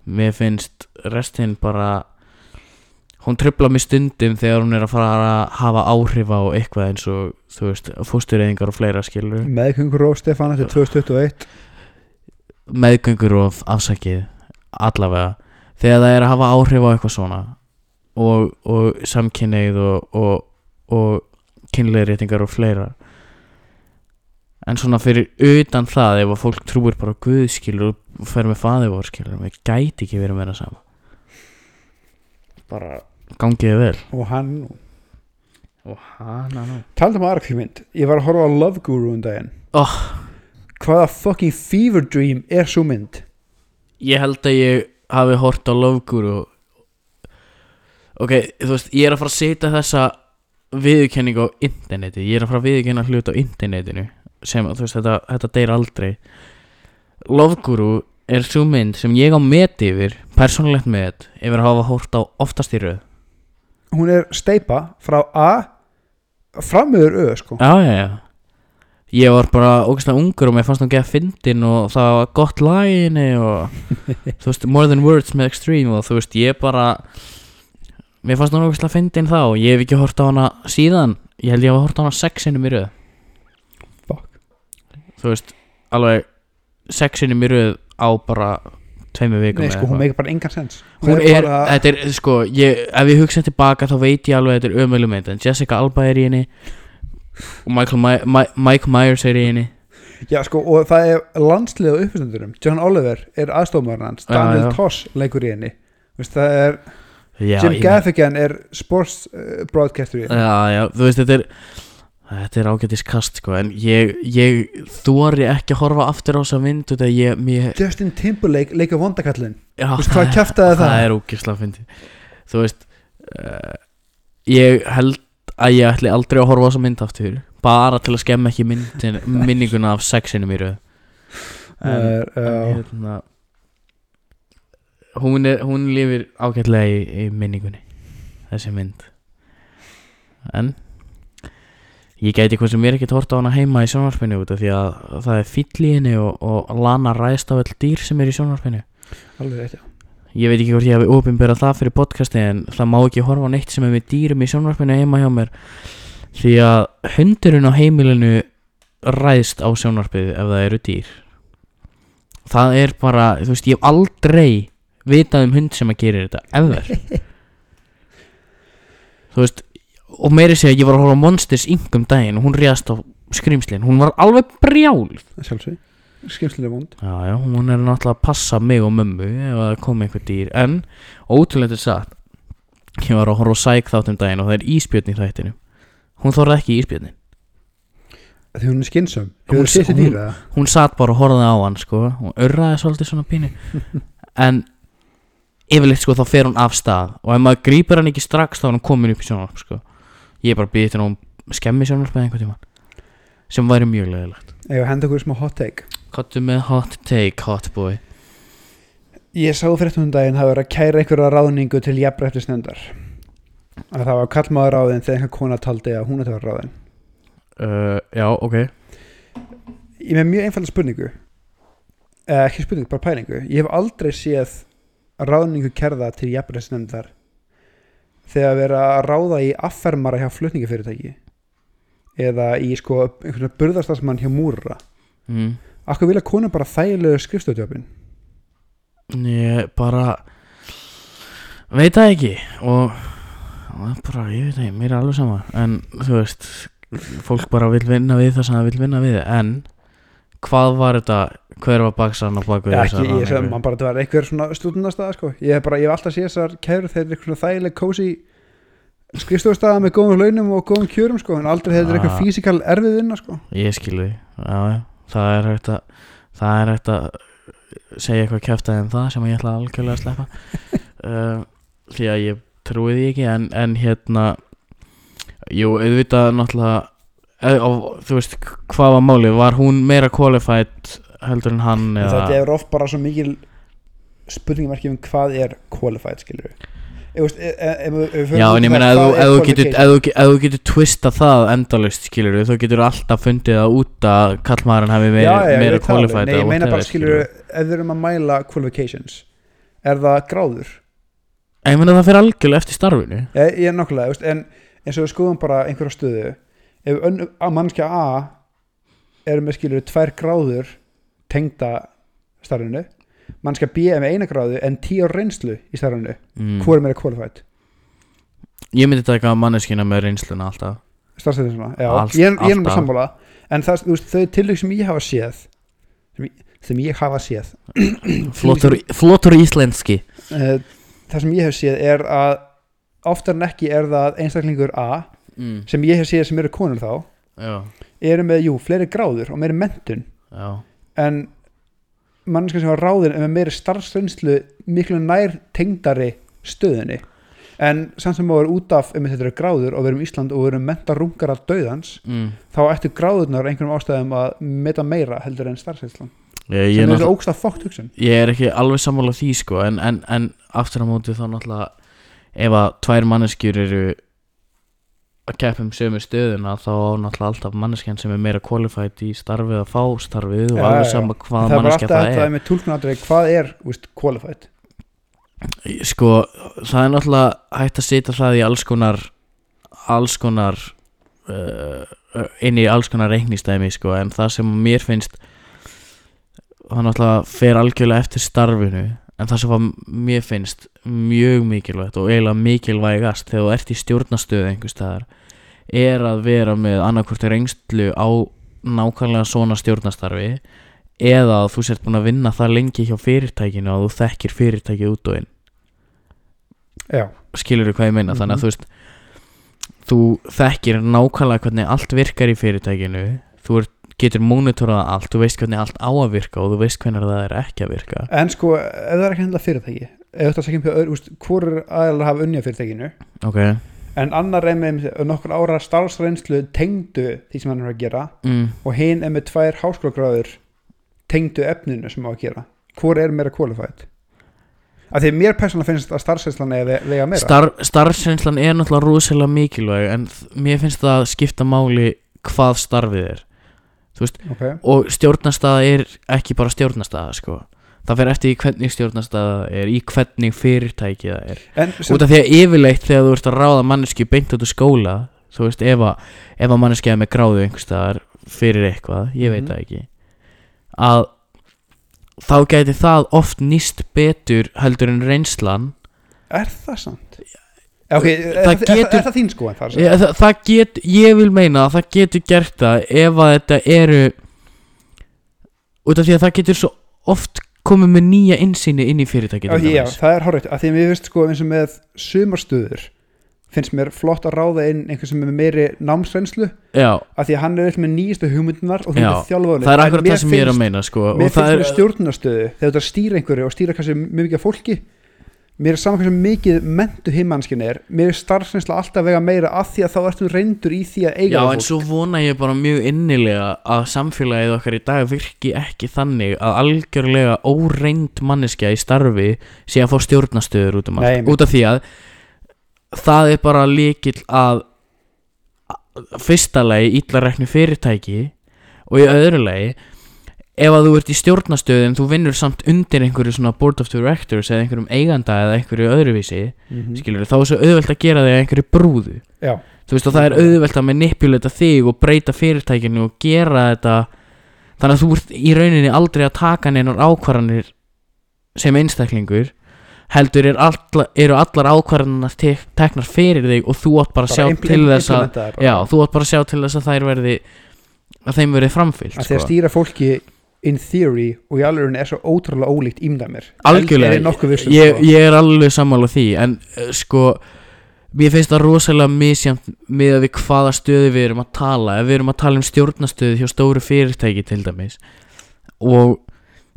S1: mér finnst restinn bara hún tröfla mig stundum þegar hún er að fara að hafa áhrif á eitthvað eins og þú veist fóstureyðingar og fleira skiluru
S2: meðgöngur og Stefán þetta er 2021
S1: meðgöngur og afsakið allavega þegar það er að hafa áhrif á eitthvað svona og, og samkynneið og, og, og kynleiðréttingar og fleira en svona fyrir utan það ef að fólk trúir bara á Guð, skilur og fer með faðivor skilur við gæti ekki verið meira sama bara gangiði vel
S2: og hann
S1: og hana nú
S2: taldi maður aðra mynd ég var að horfa á Love Guru um daginn
S1: oh,
S2: hvaða fucking fever dream er svo mynd
S1: Ég held að ég hafi hort á Love Guru Ok, þú veist, ég er að fara að setja þessa viðurkenningu á interneti Ég er að fara að viðurkenna hlut á internetinu sem, þú veist, þetta, þetta deyr aldrei Love Guru er svo mynd sem ég á met yfir persónulegt met yfir að hafa hort á oftast í röð
S2: hún er steipa frá A framöður Ö sko
S1: Já, já, já Ég var bara ógæslega ungur og mér fannst hún geða fyndin og það var gott læginni og þú veist, More Than Words með Extreme og þú veist, ég bara mér fannst hún ógæslega fyndin þá og ég hef ekki hort á hana síðan ég held ég hafa hort á hana sex sinnum í röð
S2: Fuck.
S1: Þú veist, alveg sex sinnum í röð á bara tveimur vikum eða
S2: Nei, sko, hún
S1: eitthvað.
S2: meikar bara engan sens
S1: Hún er,
S2: bara,
S1: þetta er, sko, ég, ef ég hugsa tilbaka þá veit ég alveg að þetta er ömuleg mynd en Jessica Alba er í henni og Michael My My Mike Myers er í henni
S2: Já, sko, og það er landslið á uppstandurum John Oliver er aðstofmaður hans
S1: Já,
S2: Daniel
S1: já.
S2: Toss leikur í henni Vist, það er,
S1: já,
S2: Jim
S1: ég-
S2: Gaffigan er sports uh, broadcaster í henni
S1: já, já, þú veist, þetta er þetta er ágætis kast, sko en ég, ég þóri ekki að horfa aftur á þessa mynd út að ég, mér
S2: Justin Timberlake leikur vondakallin
S1: já,
S2: Vist, hvað kjæftaði það?
S1: það er ógislega fyndið þú veist uh, ég held að ég ætli aldrei að horfa á þessa mynd aftur bara til að skemma ekki myndin, minninguna af sexinum í röð
S2: Það er,
S1: En
S2: já,
S1: hérna hún, er, hún lifir ágætlega í, í minningunni þessi mynd en ég gæti hvað sem er ekkert hort á hana heima í sjónvarpinu út af því að það er fýll í henni og, og lana ræðst á all dýr sem er í sjónvarpinu
S2: alveg rétt, já
S1: ég veit ekki hvort ég hafi opinberað það fyrir podcasti en það má ekki horfa á neitt sem er með dýrum í sjónvarpinu heima hjá mér því að hundurinn á heimilinu ræðst á sjónvarpið ef það eru dýr það er bara, þú veist, ég hef aldrei vitað um hund sem að gera þetta ever þú veist og meiri segja ég var að horfa á Monsters Inc. um daginn og hún ræðst á skrýmslin hún var alveg brjál
S2: Það er sjálfsög Skimslega vond
S1: Já, já, hún er náttúrulega að passa mig og mömmu ef það kom einhver dýr En, ótrúlega satt Ég var að horfa á sæk þáttum daginn og það er íspjörn í þættinu Hún þorði ekki í íspjörnin
S2: Því hún er skinsum
S1: Hún-
S2: Hún er sýtti
S1: hún-
S2: dýra
S1: Hún satt bara og horfði á hann, sko Hún örraði svolítið svona *laughs* pínu En, yfirleitt, sko, þá fer hún af stað Og ef maður grípur hann ekki strax þá er hann komin upp í sjónvarp, sko Ég er bara býðið til að hún skemmi sjónvarp eða einhvern tímann Sem væri mjög leðilegt
S2: Eða henda okkur í smá hot take
S1: Kottu með hot take, hot boy
S2: Ég sá fyrir þetta um daginn hafa verið að kæra einhverja ráðningu til jafnrættisnefndar að það var kallmaður ráðin þegar einhver kona taldi að hún ætti að vera ráðin
S1: uh, Já, ok
S2: Ég er með mjög einfalda spurningu eh, ekki spurningu, bara pælingu ég hef aldrei séð ráðningu kerða til jafnrættisnefndar þegar verið að ráða í affermara hjá flutningafyrirtæki eða í sko einhvern burðarstafsmann hjá múra
S1: mm.
S2: Akkur vilja kona bara þægilegu skrifstofdjöfin
S1: Ég bara veit það ekki og og það er bara, ég veit það ekki, mér er alveg sama en þú veist, fólk bara vil vinna við það sem það vil vinna við en hvað var þetta, hver var baksan og baku
S2: Já, ekki, ég sagði maður bara að það var einhver svona stúdunastað sko. ég, hef bara, ég hef alltaf séð þessar kæru þeir eru eitthvað þægileg kósi skrifstofastaða með góðum launum og góðum kjörum sko, en aldrei þeir eru
S1: Ah.
S2: eitthvað físikal erfið vinna sko.
S1: ég skil því, já, já, það er hægt að það er hægt að segja eitthvað kjæftað en það sem ég ætla algjörlega að sleppa uh, því að ég trúi því ekki en, en hérna jú, auðvitað náttúrulega eð, og, þú veist, hvað var málið var hún meira qualified heldur en hann
S2: en
S1: eða,
S2: þetta er oft bara svo mikil spurningamarki um hvað er qualified skilur e, við
S1: já, en ég meina ef þú- ef þú getur- ef þú ge- ef þú getur twista það endalaust skilur þú getur alltaf fundið það út að kallmaðurinn hafi meira, meira qualified
S2: Nei,
S1: eða
S2: ég meina
S1: whatever,
S2: bara skilur ef við erum að mæla qualifications er það gráður
S1: En ég meina það fyrir algjörlega eftir starfinu
S2: ég, Eh, ég er nokkulega, veist, en eins og við skoðum bara einhverja stöðu ef önn, að mannskja A er með skilur tvær gráður tengda starfinu mannskja B er með eina gráðu en tíu ár reynslu í starfinu mm.
S1: mm.
S2: hvor er meira qualified
S1: Ég myndi taka manneskina með reynsluna alltaf
S2: starfstæðin svona, já,
S1: Allt-
S2: ég, er- ég er
S1: alltaf.
S2: með sammála en það, þú veist, þau tilvík sem ég hafa séð sem ég, sem ég hafa séð
S1: Flottur, flottur íslenski
S2: uh, það sem ég hef séð er að oftar en ekki er það einstaklingur A
S1: mm.
S2: sem ég hef séð sem eru konur þá
S1: Já,
S2: eru með, jú, fleiri gráður og meiri mentun
S1: já
S2: en mannska sem var ráðin með meiri starfsreynslu miklu nær tengdari stöðinni en samt sem maður er út af um þetta eru gráður og við erum Ísland og við erum menta rungara dauðans
S1: mm.
S2: þá ættu gráðurnar einhverjum ástæðum að meta meira heldur en starfsreynslan
S1: ég, ég,
S2: sem
S1: er
S2: er
S1: náttúrulega-
S2: þessi ógsta fókt hugsun
S1: ég er ekki alveg sammála því sko En, en, en aftur á móti þá náttúrulega Ef að tvær manneskjur eru að keppa um sömu stöðuna þá á náttúrulega alltaf manneskjan sem er meira qualified í starfið að fá starfið og
S2: Já,
S1: alveg
S2: já, já.
S1: sama
S2: það
S1: hvaða
S2: er bara
S1: manneskja
S2: alltaf
S1: það
S2: þetta
S1: er
S2: með tólkunandrið hvað er úst, qualified
S1: sko, það er náttúrulega hægt að setja það í alls konar alls konar uh, inn í alls konar reiknistæmi sko, en það sem mér finnst það náttúrulega fer algjörlega eftir starfinu en það sem að mér finnst mjög mikilvægt og eiginlega mikilvægast þegar þú ert í stjórnastöðu einhvers staðar er að vera með annarkvort reynslu á nákvæmlega svona stjórnastarfi eða að þú sért búin að vinna það lengi hjá fyrirtækinu og þú þekkir fyrirtækið út og inn
S2: já,
S1: skilur þú hvað ég meina þannig að
S2: Mhm.
S1: þú veist þú þekkir nákvæmlega hvernig allt virkar í fyrirtækinu þú er, getur mónitorað allt þú veist hvernig allt á að virka og þú veist hvernig það er ekki að virka
S2: en sko ef það er ekki hendla fyrirtæki ef þetta sækjum um hjá öðru, úst, hvor er aðeins hafa unni á fyrirtækinu
S1: ok
S2: en annar er með nokkur ára starfsreynslu tengdu því sem hann er að gera
S1: mm.
S2: og hinn er með tvær háskólagráður tengdu efninu sem á að gera hvor er meira qualified af því að mér persónulega finnst að starfsreynslan eða vega meira
S1: Star, starfsreynslan er náttúrulega rosalega mikilvæg en þ- mér finnst það skipta máli hvað starfið er
S2: okay.
S1: og stjórnastaða er ekki bara stjórnastaða sko það fer eftir í hvernig stjórnastaða er í hvernig fyrirtækið það er
S2: en sem,
S1: út af því að yfirleitt þegar þú ert að ráða mannesku beint út úr skóla þú veist ef að, ef að manneskja er með gráðu einhverstaðar fyrir eitthvað, ég veit
S2: Mhm.
S1: það ekki að þá gæti það oft nýst betur heldur en reynslan
S2: er það samt ok, er,
S1: Það
S2: það, er,
S1: getur-
S2: er, er það þín sko en það er
S1: ég, það, það get, ég vil meina að það getur gert það ef að þetta eru út af því að það getur svo oft komið með nýja innsýni inn í fyrirtæki
S2: Já, já, það er horrið, af því að mér finnst sko eins og með sumarstöður finnst mér flott að ráða inn einhver sem er með meiri námsreynslu
S1: já,
S2: af því að hann er eitthvað með nýjastu hugmyndunar og þú
S1: Já,
S2: myndir þjálfa hann
S1: það er akkurat það sem ég er að meina sko,
S2: Mér
S1: og
S2: finnst
S1: það
S2: mér
S1: er
S2: stjórnastöðu þegar þú ert að stýra einhverju og stýra kannski mjög mikið af fólki mér er saman hversu mikið mentu himmannskin er mér er starfsreynsla alltaf vega meira af því að þá ertu reyndur í því að eiga
S1: Já,
S2: við
S1: en
S2: fólk.
S1: svo vona ég bara mjög innilega að samfélagið okkar í dag virki ekki þannig að algjörlega óreind manneskja í starfi sé að fá stjórnastöður út um
S2: Nei,
S1: allt
S2: einmitt.
S1: út af því að það er bara líkill að að- fyrsta lagi íllarekni fyrirtæki og í öðru lagi ef að þú ert í stjórnastöðu en þú vinnur samt undir einhverju svona board of directors eða einhverjum eiganda eða einhverju öðruvísi
S2: Mhm.
S1: skilur þá er svo auðvelt að gera þig að einhverju brúðu
S2: Já,
S1: þú veist og það er auðvelt að manipulata þig og breyta fyrirtækinu og gera þetta þannig að þú ert í rauninni aldrei að taka neinar ákvarðanir sem einstaklingur heldur er alla, eru allar ákvarðanar te teknar fyrir þig og þú átt bara að
S2: bara
S1: sjá
S2: impl-
S1: til þess að
S2: implementa það bara.
S1: já, þú átt bara að sjá til þess að þær verði að þeim verði framfyllt
S2: að því að
S1: sko.
S2: stýra fólki in theory og í alveg er svo ótrúlega ólíkt ímdað mér
S1: Algjörlega.
S2: er ég nokkuð vissum sko.
S1: ég, ég er alveg sammála því en uh, sko mér finnst það rosalega misjant með að við hvaða stöðu við erum að tala ef við erum að tala um stjórnastöðu hjá stóru fyrirtæki til dæmis og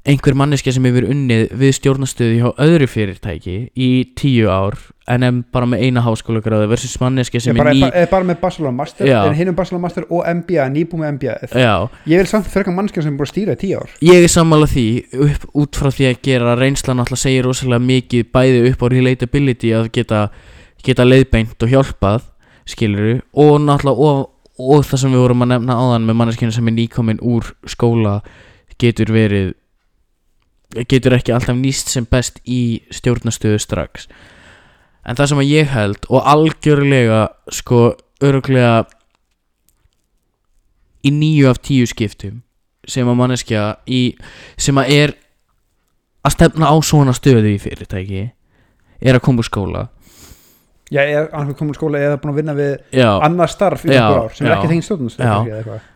S1: einhver manneskja sem hefur unnið við stjórnastöðu hjá öðru fyrirtæki í tíu ár en em bara með eina háskóla gráðu versus manneskja sem
S2: Ég
S1: er
S2: bara,
S1: ný
S2: ný... bara, bara með Barcelona Master
S1: Já. Eh.
S2: en hinn um Barcelona Master og MBA, nýbúið með MBA
S1: já,
S2: ég vil samt frekar mannskja sem er búin að stýra í tíu ár
S1: ég er sammála því upp, út frá því að gera reynslan alltaf segir rosalega mikið bæði upp á relatability að geta, geta leiðbeint og hjálpað skiluru og náttúrulega og, og það sem við vorum að nefna áðan með manneskinu sem er nýkomin úr skóla getur verið getur ekki alltaf nýst sem best í stjórnastöðu strax en það sem að ég held og algjörlega sko öruglega í nýju af tíu skiptum sem að manneskja í, sem að er að stefna á svona stöðu í fyrirtæki er að koma úr skóla
S2: ég er annars komin úr skóla eða búin að vinna við
S1: já,
S2: annað starf í
S1: Já,
S2: tíu ár
S1: já.
S2: sem er ekki þegin
S1: Já.
S2: stjórnum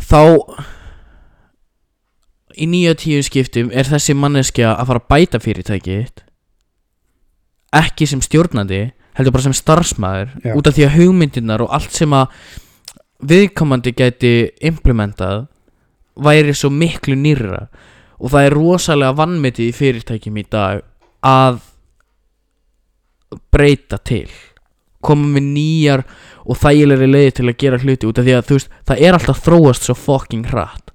S1: þá í nýja tíu skiptum er þessi manneskja að fara að bæta fyrirtæki ekki sem stjórnandi heldur bara sem starfsmæður
S2: Já.
S1: út af því að hugmyndirnar og allt sem að viðkomandi gæti implementað væri svo miklu nýrra og það er rosalega vannmetið í fyrirtækjum í dag að breyta til koma með nýjar og þægilegri leiði til að gera hluti út af því að þú veist það er alltaf að þróast svo fucking hratt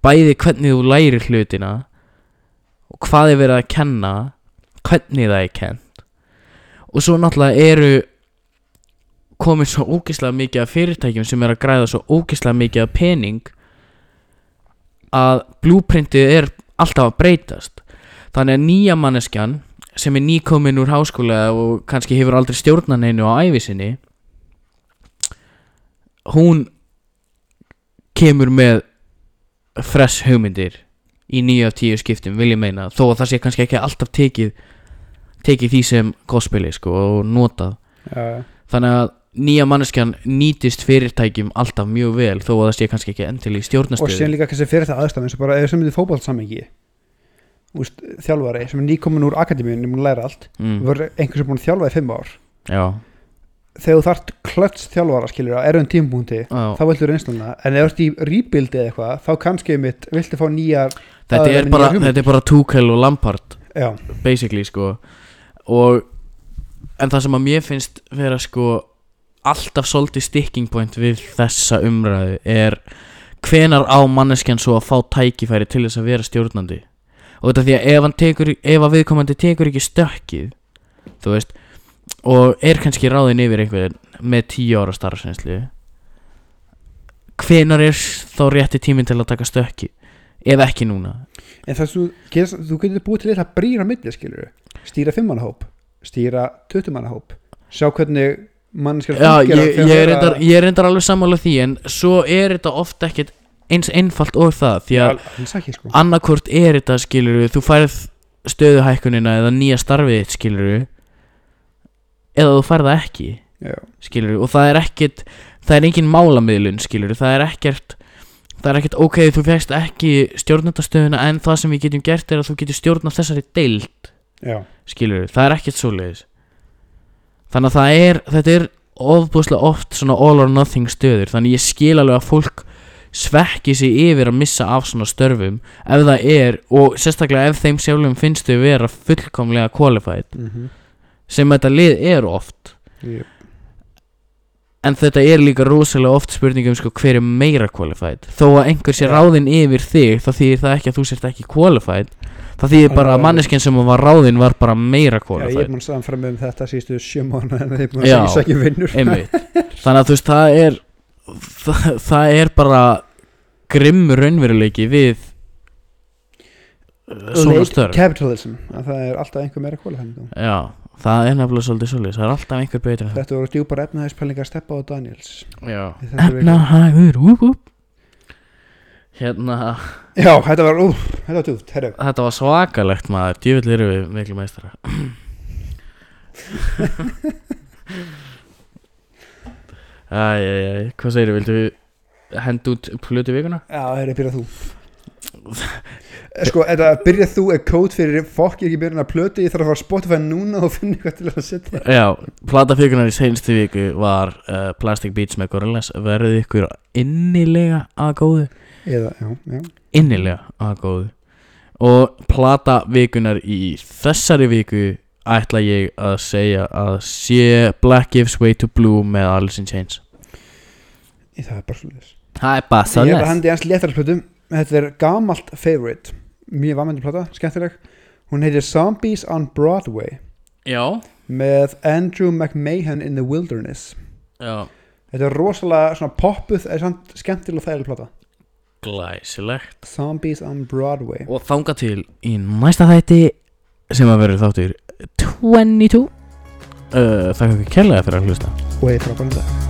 S1: bæði hvernig þú lærir hlutina og hvað er verið að kenna hvernig það er kennt og svo náttúrulega eru komið svo ógislega mikið af fyrirtækjum sem er að græða svo ógislega mikið af pening að blúprintið er alltaf að breytast þannig að nýja manneskjan sem er nýkomin úr háskóla og kannski hefur aldrei stjórnan einu á ævi sinni hún kemur með fresh hugmyndir í nýju af tíu skiptum vil ég meina þó að það sé kannski ekki alltaf tekið tekið því sem gospeli sko og notað
S2: já,
S1: þannig að nýja manneskjan nýtist fyrirtækjum alltaf mjög vel þó að það sé kannski ekki endil í
S2: og síðan
S1: stjórnastöðu
S2: líka kannski fyrir það aðstæðan eins og bara ef sem myndi fótballt samengi úst, þjálfari sem er nýkomin úr akademíunum og búinn að læra allt mm.
S1: mm,
S2: var einhver sem búin að þjálfa í fimm ár
S1: já,
S2: þegar þú þart klöts þjálfara skilur á erfum tímpúnti
S1: já.
S2: þá viltu reynsluna en ef þú ert í rebuild eða eitthvað þá kannski mitt viltu fá nýjar
S1: Þetta,
S2: það er
S1: er
S2: nýja
S1: bara,
S2: hugmynd.
S1: þetta er bara Tuchel og Lampard
S2: já,
S1: basically sko og en það sem að mér finnst vera sko alltaf svolítið sticking point við þessa umræðu er hvenar á manneskjan svo að fá tækifæri til þess að vera stjórnandi og þetta því að ef, hann tekur, ef að viðkomandi tekur ekki stökkið þú veist og er kannski ráðin yfir einhvern með tíu ára starfsreynslu hvenar er þá rétti tíminn til að taka stökki ef ekki núna
S2: en þess þú, getur- þú getur búið til eitthvað brýra milli skilur stýra fimmannahóp, stýra tuttumannahóp sjá hvernig mannskjör
S1: Já, ég, ég, er reyndar, ég er reyndar alveg sammála því en svo er þetta oft ekkert eins einfalt og það því að
S2: alls ekki sko
S1: annarkvort er þetta skilur þú færð stöðuhækkunina eða nýja starfið þitt skilur eða þú færð það ekki
S2: Já.
S1: skilur og það er ekkert það er engin málamiðlun skilur það er ekkert það er ekkert ok þú fegst ekki stjórnandastöðuna en það sem við getum gert er að þú getur stjórnað þessari deild
S2: já,
S1: skilur það er ekkert svoleiðis þannig að það er, þetta er ofbúslega oft svona all or nothing stöður þannig ég skil alveg að fólk svekki sig yfir að missa af svona störfum ef það er og sérstaklega ef þeim sjálfum finnst þau vera fullkomlega qualified
S2: mm -hmm.
S1: sem þetta lið er oft en þetta er líka rosalega oft spurningum sko hver er meira qualified þó að einhver sé
S2: Já.
S1: ráðinn yfir þig þá þýðir það ekki að þú sért ekki qualified þá þýðir bara að
S2: Alveg.
S1: manneskinn sem var ráðinn var bara meira
S2: já, ég
S1: qualified
S2: er búin að staðan fram um þetta sístu sjö mánu en þeir búin
S1: Já.
S2: að sækja vinnur *laughs*
S1: einmitt þannig að þú veist það er það, það er bara grimm raunveruleiki við uh, svona
S2: Late
S1: störf
S2: capitalism, að það er alltaf einhver meira kvalifændum
S1: já, það er nefnilega svolítið svolítið það er alltaf einhver betur en
S2: þetta voru djúpar efnahæspælingar Steppa og Daniels
S1: það já.
S2: Í þetta
S1: Hérna
S2: viku.
S1: efnahagur úp, úp. hérna
S2: já, þetta var, ú, þetta var djúpt, herru
S1: þetta var svakalegt maður djúvill eru við miklu meistara Æ, æ, æ, hvað segir viltu henda út plötu vikuna?
S2: Já, það er að byrja þú
S1: *laughs*
S2: Sko, þetta að byrja þú er kód fyrir fokk ég er ekki byrjun að plöti ég þarf að fara að Spotify núna og finna eitthvað til að setja
S1: Já, platafíkunar í seinstu viku var uh, Plastic Beach með Gorillaz verðið ykkur innilega að góðu
S2: Eða, já, já
S1: innilega að góðu og platafíkunar í þessari viku ætla ég að segja að sé Black Gives Way to Blue með Alice in Chains
S2: Í Það er bara svolítið
S1: Það er bara
S2: Ég er að
S1: svolítið
S2: hendi hans léttara plötum Þetta er gamalt favorite Mjög vamandi plata, skemmtileg Hún heitir Zombies on Broadway
S1: Já,
S2: með Andrew McMahon in the Wilderness
S1: já,
S2: Þetta er rosalega svona poppuð eða samt skemmtileg og þægileg plata
S1: glæsilegt
S2: Zombies on Broadway
S1: Og þanga til í næsta þætti sem að verður þáttur 22 uh, Þakka ekki kærlega fyrir að hlusta
S2: og ég þarf að bæla um þetta